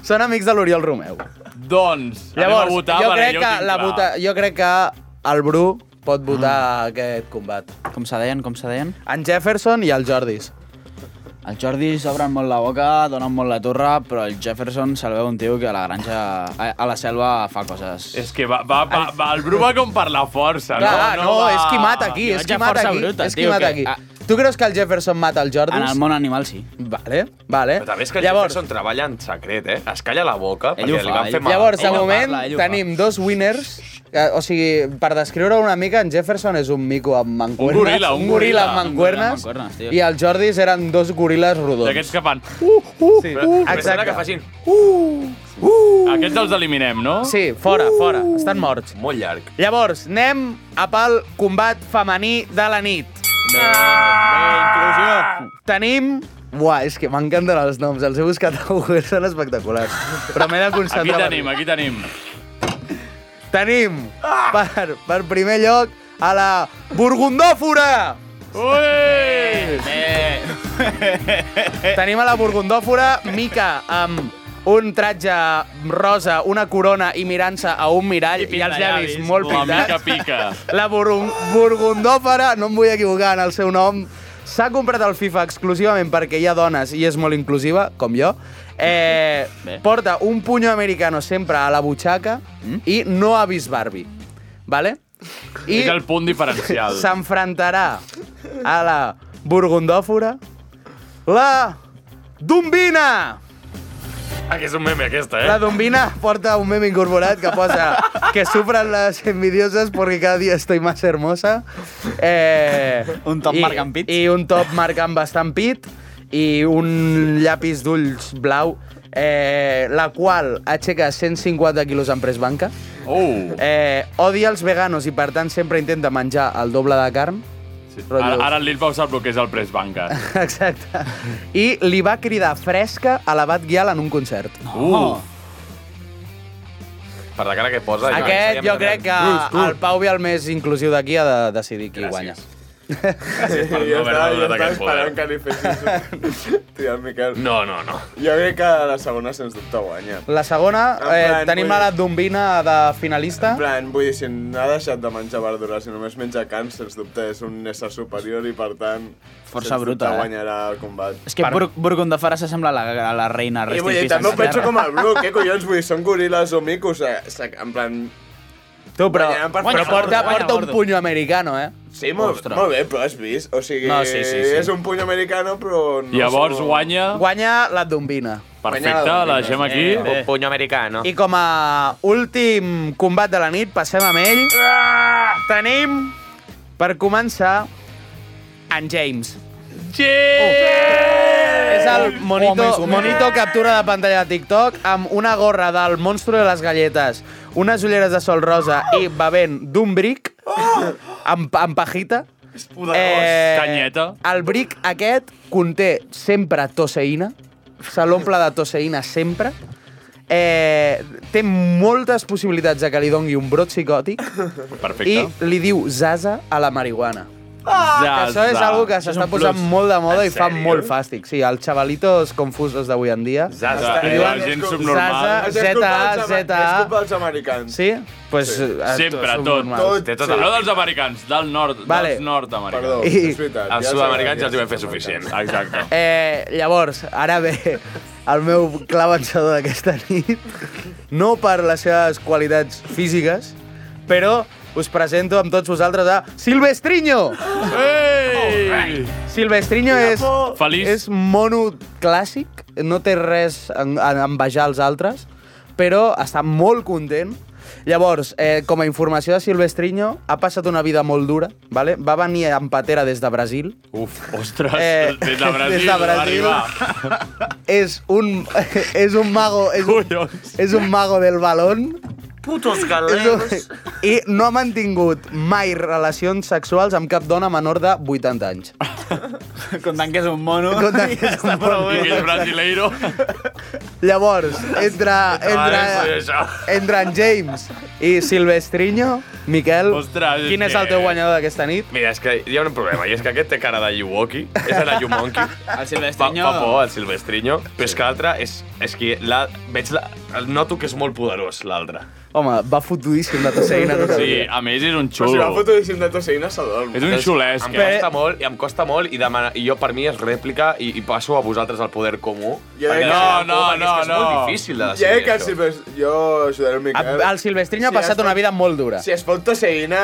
[SPEAKER 6] són amics de l'Oriol Romeu.
[SPEAKER 2] Doncs, anem a votar,
[SPEAKER 6] jo
[SPEAKER 2] perquè jo
[SPEAKER 6] crec,
[SPEAKER 2] ho
[SPEAKER 6] que
[SPEAKER 2] tinc
[SPEAKER 6] la
[SPEAKER 2] clar.
[SPEAKER 6] vota, jo crec que el Bru pot votar mm. aquest combat.
[SPEAKER 11] Com se deien, com se deien?
[SPEAKER 6] En Jefferson i el Jordis.
[SPEAKER 11] Els Jordis obren molt la boca, donen molt la torre, però el Jefferson se'l veu un tio que a la granja, a, a la selva fa coses.
[SPEAKER 2] És que va, va, va, va, el Bru va com per la força,
[SPEAKER 6] Clar,
[SPEAKER 2] no?
[SPEAKER 6] no, no és qui mata aquí,
[SPEAKER 11] Jo
[SPEAKER 6] és
[SPEAKER 11] vaig
[SPEAKER 6] qui
[SPEAKER 11] a
[SPEAKER 6] mata
[SPEAKER 11] força
[SPEAKER 6] aquí.
[SPEAKER 11] bruta,
[SPEAKER 6] és qui
[SPEAKER 11] tio,
[SPEAKER 6] mata
[SPEAKER 11] que-
[SPEAKER 6] aquí.
[SPEAKER 11] ah.
[SPEAKER 6] Tu creus que el Jefferson mata el Jordis?
[SPEAKER 11] En el món animal sí.
[SPEAKER 6] Vale, vale.
[SPEAKER 8] Però també és que el
[SPEAKER 6] Llavors,
[SPEAKER 8] Jefferson treballa en secret, eh? Es calla la boca
[SPEAKER 6] Ell ho
[SPEAKER 8] perquè li
[SPEAKER 6] fa,
[SPEAKER 8] van
[SPEAKER 6] ell
[SPEAKER 8] fer
[SPEAKER 6] ho fa.
[SPEAKER 8] mal.
[SPEAKER 6] Llavors, de moment, tenim dos winners. que, o sigui, per descriure una mica, en Jefferson és un mico amb mancuernes.
[SPEAKER 2] goril·la, un
[SPEAKER 6] un goril·la
[SPEAKER 2] goril·la.
[SPEAKER 6] amb mancuernes.
[SPEAKER 11] Un goril·la amb mancuernes, tio.
[SPEAKER 6] I els Jordis eren dos goril·les rodons.
[SPEAKER 2] D'aquests que fan...
[SPEAKER 6] Uh, uh,
[SPEAKER 2] Sí.
[SPEAKER 6] uh,
[SPEAKER 2] Però sembla que
[SPEAKER 6] exacte.
[SPEAKER 2] facin-
[SPEAKER 6] Uh, uh.
[SPEAKER 2] Aquests els eliminem, no?
[SPEAKER 6] Sí, fora, fora. Estan morts.
[SPEAKER 8] Molt llarg.
[SPEAKER 6] Llavors, anem a pel combat femení de la nit.
[SPEAKER 11] Ah!
[SPEAKER 6] Tenim... Buah, és que m'encanten els noms. Els he buscat a Google, són espectaculars. Però m'he de concentrar.
[SPEAKER 2] Aquí
[SPEAKER 6] per-
[SPEAKER 2] tenim, aquí tenim.
[SPEAKER 6] Tenim per, per primer lloc a la Burgundòfora!
[SPEAKER 2] Ui!
[SPEAKER 6] Tenim a la Burgundòfora Mica amb un tratge rosa, una corona i mirant-se a un mirall i, els llavis molt
[SPEAKER 2] La mica
[SPEAKER 6] pintats.
[SPEAKER 2] pica.
[SPEAKER 6] La Burun- Burgundòfora, no em vull equivocar en el seu nom, s'ha comprat el FIFA exclusivament perquè hi ha dones i és molt inclusiva, com jo. Eh, porta un puño americano sempre a la butxaca
[SPEAKER 2] Mm.
[SPEAKER 6] i no ha vist Barbie. Vale?
[SPEAKER 2] I... És el punt diferencial.
[SPEAKER 6] s'enfrontarà a la burgundòfora la Dumbina!
[SPEAKER 8] Ah, que és un meme aquesta, eh?
[SPEAKER 6] La Dumbina porta un meme incorporat que posa que sufran las envidiosas porque cada día estoy más hermosa. Eh, un
[SPEAKER 11] top
[SPEAKER 6] i,
[SPEAKER 11] marcant pits.
[SPEAKER 6] I un top marcant bastant pit i un llapis d'ulls blau eh, la qual aixeca 150 quilos en pres banca.
[SPEAKER 2] Oh.
[SPEAKER 6] Eh, odia els veganos i, per tant, sempre intenta menjar el doble de carn. Sí.
[SPEAKER 2] Ara, ara el Lil Pau sap el que és el press banca.
[SPEAKER 6] Exacte. I li va cridar fresca a l'abat Guial en un concert.
[SPEAKER 2] Uh.
[SPEAKER 8] Per la cara que posa...
[SPEAKER 6] Aquest jo crec que el Pau Vial més inclusiu d'aquí ha de decidir qui guanya.
[SPEAKER 9] Sí,
[SPEAKER 13] per no
[SPEAKER 9] jo
[SPEAKER 13] haver-me
[SPEAKER 9] estava, jo
[SPEAKER 13] donat
[SPEAKER 9] estava
[SPEAKER 13] aquest poder.
[SPEAKER 9] esperant que li fessis Tio, Miquel.
[SPEAKER 13] No, no, no.
[SPEAKER 9] Jo crec que la segona, sens dubte, guanya.
[SPEAKER 6] La segona,
[SPEAKER 9] En
[SPEAKER 6] eh,
[SPEAKER 9] plan,
[SPEAKER 6] tenim
[SPEAKER 9] vull-
[SPEAKER 6] a la Dumbina de finalista.
[SPEAKER 9] En plan, vull dir, si n'ha deixat de menjar verdures i només menja carn, sens dubte és un ésser superior i, per tant,
[SPEAKER 11] Força
[SPEAKER 9] sens dubte
[SPEAKER 11] bruta, eh?
[SPEAKER 9] guanyarà el combat.
[SPEAKER 11] És que Bur Burgundafara s'assembla a la, a la reina.
[SPEAKER 9] I vull dir, també ho penso com el Bruc, eh, collons? Vull dir, són goril·les o micos, eh? Se- en plan...
[SPEAKER 6] Tu, però,
[SPEAKER 9] Guanyarem per
[SPEAKER 6] però
[SPEAKER 9] força.
[SPEAKER 6] porta,
[SPEAKER 9] Guanya,
[SPEAKER 6] porta un
[SPEAKER 9] gordo.
[SPEAKER 6] puño americano, eh?
[SPEAKER 9] Sí, molt,
[SPEAKER 6] Ostres.
[SPEAKER 9] molt bé, però has vist? O sigui,
[SPEAKER 6] No, sí, sí, sí.
[SPEAKER 9] és un puny americano, però... No som-
[SPEAKER 6] Guanya Eh, la Dumbina.
[SPEAKER 8] Un puño americano.
[SPEAKER 6] I com a últim combat de la nit, passem amb ell. Tenim, per començar, en James. És el monito, monito captura de pantalla de TikTok amb una gorra del monstro de les galletes, unes ulleres de sol rosa i bevent d'un bric amb, amb pajita. Eh,
[SPEAKER 2] Canyeta.
[SPEAKER 6] El bric aquest conté sempre toseïna, se l'omple de toseïna sempre, eh, té moltes possibilitats de que li dongui un brot psicòtic
[SPEAKER 2] Perfecte.
[SPEAKER 6] eh.
[SPEAKER 2] Ah,
[SPEAKER 6] i li diu Zaza a la marihuana. Que això és algo que s'està posant
[SPEAKER 2] plus.
[SPEAKER 6] molt de
[SPEAKER 2] En
[SPEAKER 6] moda i fa
[SPEAKER 2] sèrio?
[SPEAKER 6] molt fàstic. Sí, els xavalitos confusos d'avui en dia.
[SPEAKER 2] Zaza,
[SPEAKER 6] Li
[SPEAKER 2] eh,
[SPEAKER 6] diuen
[SPEAKER 2] la gent subnormal.
[SPEAKER 6] Zaza, ZA,
[SPEAKER 9] És
[SPEAKER 6] ZA...
[SPEAKER 9] culpa dels americans.
[SPEAKER 6] Sí? Pues,
[SPEAKER 9] Sí.
[SPEAKER 6] eh,
[SPEAKER 2] Sempre,
[SPEAKER 6] són
[SPEAKER 2] tot.
[SPEAKER 6] normals.
[SPEAKER 2] Té tot arreu dels americans, del nord,
[SPEAKER 6] Vale.
[SPEAKER 2] dels nord-americans.
[SPEAKER 6] Perdó, I- és veritat, ja
[SPEAKER 2] Els
[SPEAKER 6] s'ha
[SPEAKER 2] sud-americans
[SPEAKER 6] de
[SPEAKER 2] ja els hi vam fer suficient. Exacte.
[SPEAKER 6] Eh, llavors, ara ve el meu clar vencedor d'aquesta nit. No per les seves qualitats físiques, però us presento amb tots vosaltres a Silvestriño!
[SPEAKER 2] Ei!
[SPEAKER 6] Silvestriño és,
[SPEAKER 2] Feliç.
[SPEAKER 6] és mono clàssic, no té res a a envejar els altres, però està molt content. Llavors, eh, com a informació de Silvestriño, ha passat una vida molt dura, vale? va venir en patera des de Brasil,
[SPEAKER 2] Uf, ostres,
[SPEAKER 6] Eh,
[SPEAKER 2] des de Brasil,
[SPEAKER 6] des de Brasil.
[SPEAKER 2] va arribar.
[SPEAKER 6] és un, és un mago... És un, és un mago del balón.
[SPEAKER 8] Putos
[SPEAKER 6] És un, I no ha mantingut mai relacions sexuals amb cap dona menor de 80 anys.
[SPEAKER 11] Comptant que és un mono.
[SPEAKER 6] Comptant que és un mono.
[SPEAKER 2] I que és brasileiro.
[SPEAKER 6] Llavors, entre,
[SPEAKER 8] Ah,
[SPEAKER 6] entre, entre en James i Silvestriño, Miquel,
[SPEAKER 8] Ostres, és
[SPEAKER 6] quin és el
[SPEAKER 8] que-
[SPEAKER 6] teu guanyador d'aquesta nit?
[SPEAKER 8] Mira, és que hi ha un problema, i és que aquest té cara de Yuwoki, és el Yumonki.
[SPEAKER 11] El
[SPEAKER 8] Silvestriño... Fa, fa por, el Silvestriño. Però és que l'altre és... És que la, veig la, noto que és molt poderós, l'altre.
[SPEAKER 6] Home, va fotudíssim la tosseïna.
[SPEAKER 8] Sí,
[SPEAKER 2] a més és un
[SPEAKER 9] Però si la foto de Cinta Tosseïna s'adorm.
[SPEAKER 8] Em costa molt, i em costa molt, i, demana, i jo per mi és rèplica, i, i passo a vosaltres el poder comú.
[SPEAKER 9] Jo
[SPEAKER 8] Perquè
[SPEAKER 9] crec
[SPEAKER 8] és
[SPEAKER 9] que-
[SPEAKER 8] el comú, perquè és que És molt difícil de
[SPEAKER 9] Jo crec
[SPEAKER 8] decidir,
[SPEAKER 9] que el
[SPEAKER 8] això.
[SPEAKER 9] Silvestri- Jo ajudaré el Miquel.
[SPEAKER 6] El Silvestriño ha passat una vida molt dura.
[SPEAKER 9] Si es fot tosseïna,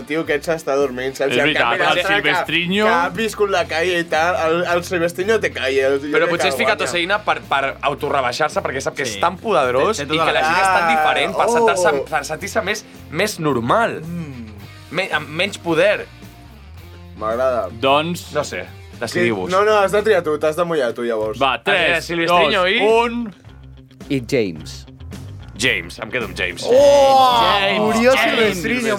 [SPEAKER 9] el tio aquest s'està dormint, saps?
[SPEAKER 6] És
[SPEAKER 9] I en
[SPEAKER 6] veritat,
[SPEAKER 9] canvi
[SPEAKER 6] el
[SPEAKER 9] l'altre que-
[SPEAKER 6] Silvestriño-
[SPEAKER 9] Que, ha viscut la calle i tal, el, el Silvestriño té calle. El, jo
[SPEAKER 8] Però
[SPEAKER 9] crec
[SPEAKER 8] potser
[SPEAKER 9] que
[SPEAKER 8] es fica
[SPEAKER 9] guanya.
[SPEAKER 8] tosseïna per, per autorrebaixar-se, perquè sap que és tan poderós
[SPEAKER 9] Té- té
[SPEAKER 8] i
[SPEAKER 9] tota
[SPEAKER 8] que la
[SPEAKER 9] la-
[SPEAKER 8] gent és tan
[SPEAKER 9] Ah,
[SPEAKER 8] diferent per
[SPEAKER 9] oh. Mm.
[SPEAKER 8] sentir-se per sentir-se més, més normal. Me, amb menys poder.
[SPEAKER 9] M'agrada.
[SPEAKER 2] Doncs...
[SPEAKER 8] No sé, decidiu-vos.
[SPEAKER 9] No, no, has de triar tu, t'has de mullar tu, llavors.
[SPEAKER 8] Va, tres, Silvestriño dos, i- un.
[SPEAKER 6] I James.
[SPEAKER 8] James, em quedo amb James.
[SPEAKER 6] Oh,
[SPEAKER 8] James,
[SPEAKER 6] murió
[SPEAKER 8] James,
[SPEAKER 6] Silvestriño,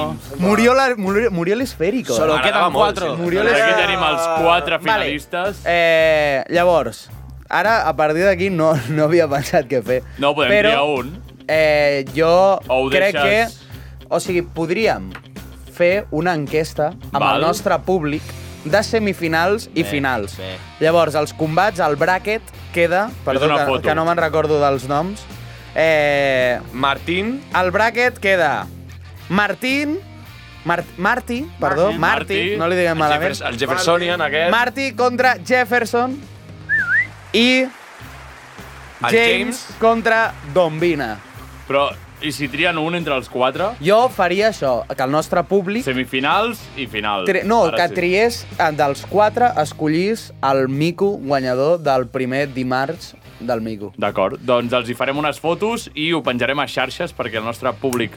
[SPEAKER 6] murió, murió, la, murió, murió el esférico.
[SPEAKER 2] Solo M'agradava queden molt, quatre. sí.
[SPEAKER 6] Murió
[SPEAKER 2] Doncs aquí
[SPEAKER 6] l'esfèrico.
[SPEAKER 2] tenim els quatre finalistes.
[SPEAKER 6] Vale. Eh, llavors, ara, a partir d'aquí, no, no havia pensat què fer.
[SPEAKER 2] No, podem
[SPEAKER 6] Però,
[SPEAKER 2] triar un.
[SPEAKER 6] Eh, jo
[SPEAKER 2] O ho
[SPEAKER 6] crec
[SPEAKER 2] deixes-
[SPEAKER 6] que... O sigui, podríem fer una enquesta amb
[SPEAKER 2] Val.
[SPEAKER 6] el nostre públic de semifinals i
[SPEAKER 2] Bé,
[SPEAKER 6] finals.
[SPEAKER 2] bé.
[SPEAKER 6] Llavors, els combats, el bracket queda... Perdó,
[SPEAKER 8] una
[SPEAKER 6] que,
[SPEAKER 8] foto.
[SPEAKER 6] que no me'n recordo dels noms. Eh,
[SPEAKER 8] Martín.
[SPEAKER 6] El bracket queda Martín, Mar Martí, perdó, Martí, no li diguem
[SPEAKER 8] el
[SPEAKER 6] malament.
[SPEAKER 8] Jeffers- El Jeffersonian, aquest.
[SPEAKER 6] Martí contra Jefferson i James, James contra Dombina.
[SPEAKER 2] Però, i si trien un entre els quatre?
[SPEAKER 6] Jo faria això, que el nostre públic...
[SPEAKER 2] Semifinals i final.
[SPEAKER 6] Tri no,
[SPEAKER 2] Ara
[SPEAKER 6] que
[SPEAKER 2] sí.
[SPEAKER 6] triés eh, dels quatre, escollís el mico guanyador del primer dimarts del mico.
[SPEAKER 2] D'acord, doncs els hi farem unes fotos i ho penjarem a xarxes perquè el nostre públic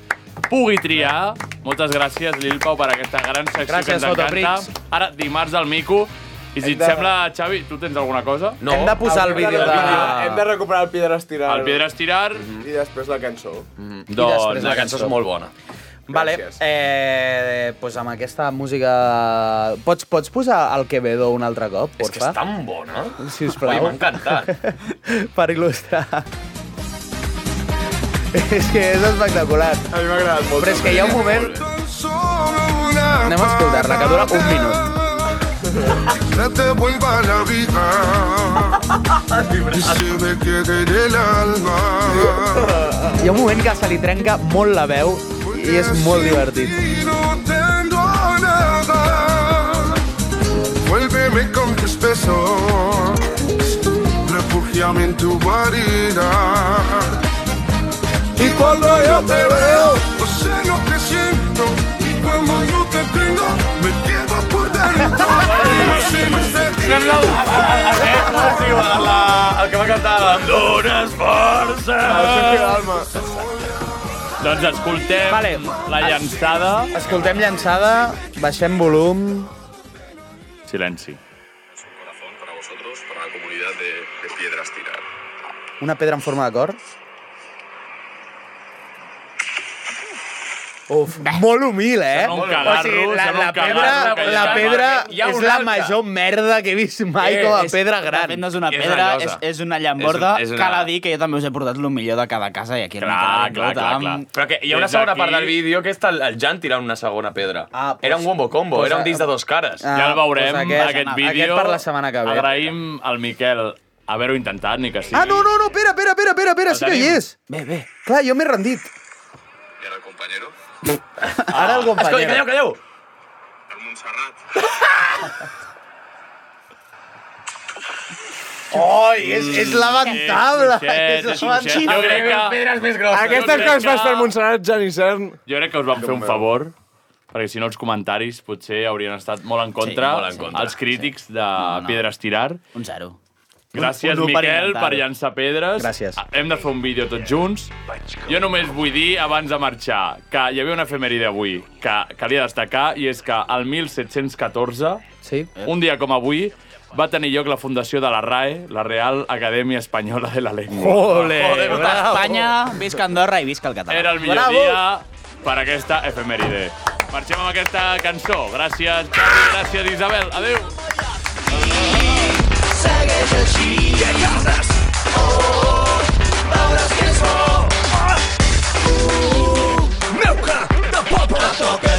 [SPEAKER 2] pugui triar. Moltes gràcies, Lil Pau, per aquesta gran secció que
[SPEAKER 6] Gràcies,
[SPEAKER 2] ens encanta.
[SPEAKER 6] Fotoprix.
[SPEAKER 2] Ara, dimarts del Mico. I si
[SPEAKER 9] Hem
[SPEAKER 2] et
[SPEAKER 9] de-
[SPEAKER 2] sembla, Xavi, tu tens alguna cosa?
[SPEAKER 9] Hem de posar el vídeo de... Hem de recuperar el Piedra Estirar.
[SPEAKER 2] El Piedra Estirar.
[SPEAKER 8] Mm-hmm.
[SPEAKER 9] I després la cançó.
[SPEAKER 2] I Doncs després la la cançó cançó. és molt
[SPEAKER 8] bona.
[SPEAKER 6] Vale, eh, pues amb aquesta música... Pots, pots posar el Quevedo un altre cop, porfa? És que és
[SPEAKER 8] tan bona.
[SPEAKER 6] Si us plau.
[SPEAKER 8] Ui, m'ha encantat.
[SPEAKER 6] per il·lustrar. és que és espectacular.
[SPEAKER 9] A mi m'ha agradat molt.
[SPEAKER 6] Però és que hi ha un moment... Anem a
[SPEAKER 14] Barcelona,
[SPEAKER 6] escoltar-la.
[SPEAKER 14] que dura un minut.
[SPEAKER 8] No te vuelva la vida. Y se me quede en el alma.
[SPEAKER 6] Hi ha un moment que se li trenca molt la veu i és molt divertit.
[SPEAKER 8] Y no tengo nada. Vuélveme con tus besos. Refugiame en tu guarida. Y cuando yo te veo, no sé lo que siento. Y cuando yo te tengo, me quedo por dentro.
[SPEAKER 2] Eh,
[SPEAKER 15] Sembla un... Sí, la, la, el que va cantar la... Dones força!
[SPEAKER 2] Ah, Doncs escoltem vale. la llançada.
[SPEAKER 6] Escoltem llançada, baixem volum...
[SPEAKER 2] Silenci.
[SPEAKER 16] para vosotros, para la comunidad de, de Piedras Tirar.
[SPEAKER 6] Una pedra en forma de cor. Uf, molt humil, eh?
[SPEAKER 2] Sembla un cagarro,
[SPEAKER 6] la,
[SPEAKER 2] sembla
[SPEAKER 6] la
[SPEAKER 2] un
[SPEAKER 6] pedra,
[SPEAKER 2] cagarro que hi
[SPEAKER 6] la
[SPEAKER 2] ha.
[SPEAKER 6] pedra
[SPEAKER 2] Hi ha
[SPEAKER 6] és
[SPEAKER 2] una
[SPEAKER 6] la
[SPEAKER 2] altra.
[SPEAKER 6] major merda que he vist mai
[SPEAKER 7] Eh,
[SPEAKER 6] com a
[SPEAKER 7] és-
[SPEAKER 6] pedra gran.
[SPEAKER 7] De fet, no és una pedra,
[SPEAKER 6] llosa.
[SPEAKER 7] és, és una llamborda.
[SPEAKER 6] És un-
[SPEAKER 7] És,
[SPEAKER 6] és una-
[SPEAKER 7] una... Cal a dir que jo també us he portat el millor de cada casa i aquí
[SPEAKER 2] Clar, clar, clar, clar.
[SPEAKER 14] Però que hi ha una
[SPEAKER 2] Des
[SPEAKER 14] segona
[SPEAKER 2] d'aquí-
[SPEAKER 14] part del vídeo que està el, el Jan tirant una segona pedra. Ah, era
[SPEAKER 8] pues,
[SPEAKER 14] un wombo combo,
[SPEAKER 2] posa-
[SPEAKER 14] era un disc de dos cares.
[SPEAKER 2] Ah, ja el veurem,
[SPEAKER 6] doncs
[SPEAKER 2] aquest, aquest
[SPEAKER 6] aquest- aquest
[SPEAKER 2] vídeo.
[SPEAKER 6] per la setmana que ve.
[SPEAKER 2] Agraïm al Miquel haver-ho intentat, ni que sigui.
[SPEAKER 6] Ah, no, no, no, espera, espera, espera, espera, espera
[SPEAKER 2] El
[SPEAKER 6] sí que hi
[SPEAKER 2] tenim.
[SPEAKER 6] és. Bé, bé. Clar, jo m'he rendit.
[SPEAKER 14] Ara
[SPEAKER 2] Ah.
[SPEAKER 6] el companyero.
[SPEAKER 14] Escolta, calleu, calleu!
[SPEAKER 6] Oi, és, és lamentable.
[SPEAKER 2] Xixet,
[SPEAKER 6] és
[SPEAKER 2] xixet. Jo crec que... Pedres més
[SPEAKER 17] Aquestes que es fas per Montserrat, Jan i Cern.
[SPEAKER 2] Jo crec que us vam fer un
[SPEAKER 17] meu.
[SPEAKER 2] favor, perquè si no els comentaris potser haurien estat molt en contra,
[SPEAKER 17] Sí, molt en contra,
[SPEAKER 2] els crítics de Piedres Tirar.
[SPEAKER 7] Un zero.
[SPEAKER 2] Gràcies,
[SPEAKER 7] Un- un u per
[SPEAKER 2] Miquel, per,
[SPEAKER 7] inventar-ho.
[SPEAKER 2] llançar pedres.
[SPEAKER 7] Gràcies.
[SPEAKER 2] Ah, Hem de fer un vídeo tots junts. Jo només vull dir, abans de marxar, que hi havia una efemèride avui que calia destacar, i és que el 1714,
[SPEAKER 6] sí.
[SPEAKER 2] un dia com avui, va tenir lloc la fundació de la RAE, la Real Acadèmia Espanyola de la Lengua.
[SPEAKER 7] Joder, puta Espanya, visca Andorra i visca el català.
[SPEAKER 2] Era el millor
[SPEAKER 7] Bravo.
[SPEAKER 2] dia per aquesta efemèride. Marxem amb aquesta cançó. Gràcies, Xavi, gràcies, Isabel. Adéu.
[SPEAKER 8] Segueix així que cases. Oh, veuràs que és bo. Uh, meu cap de poble toca.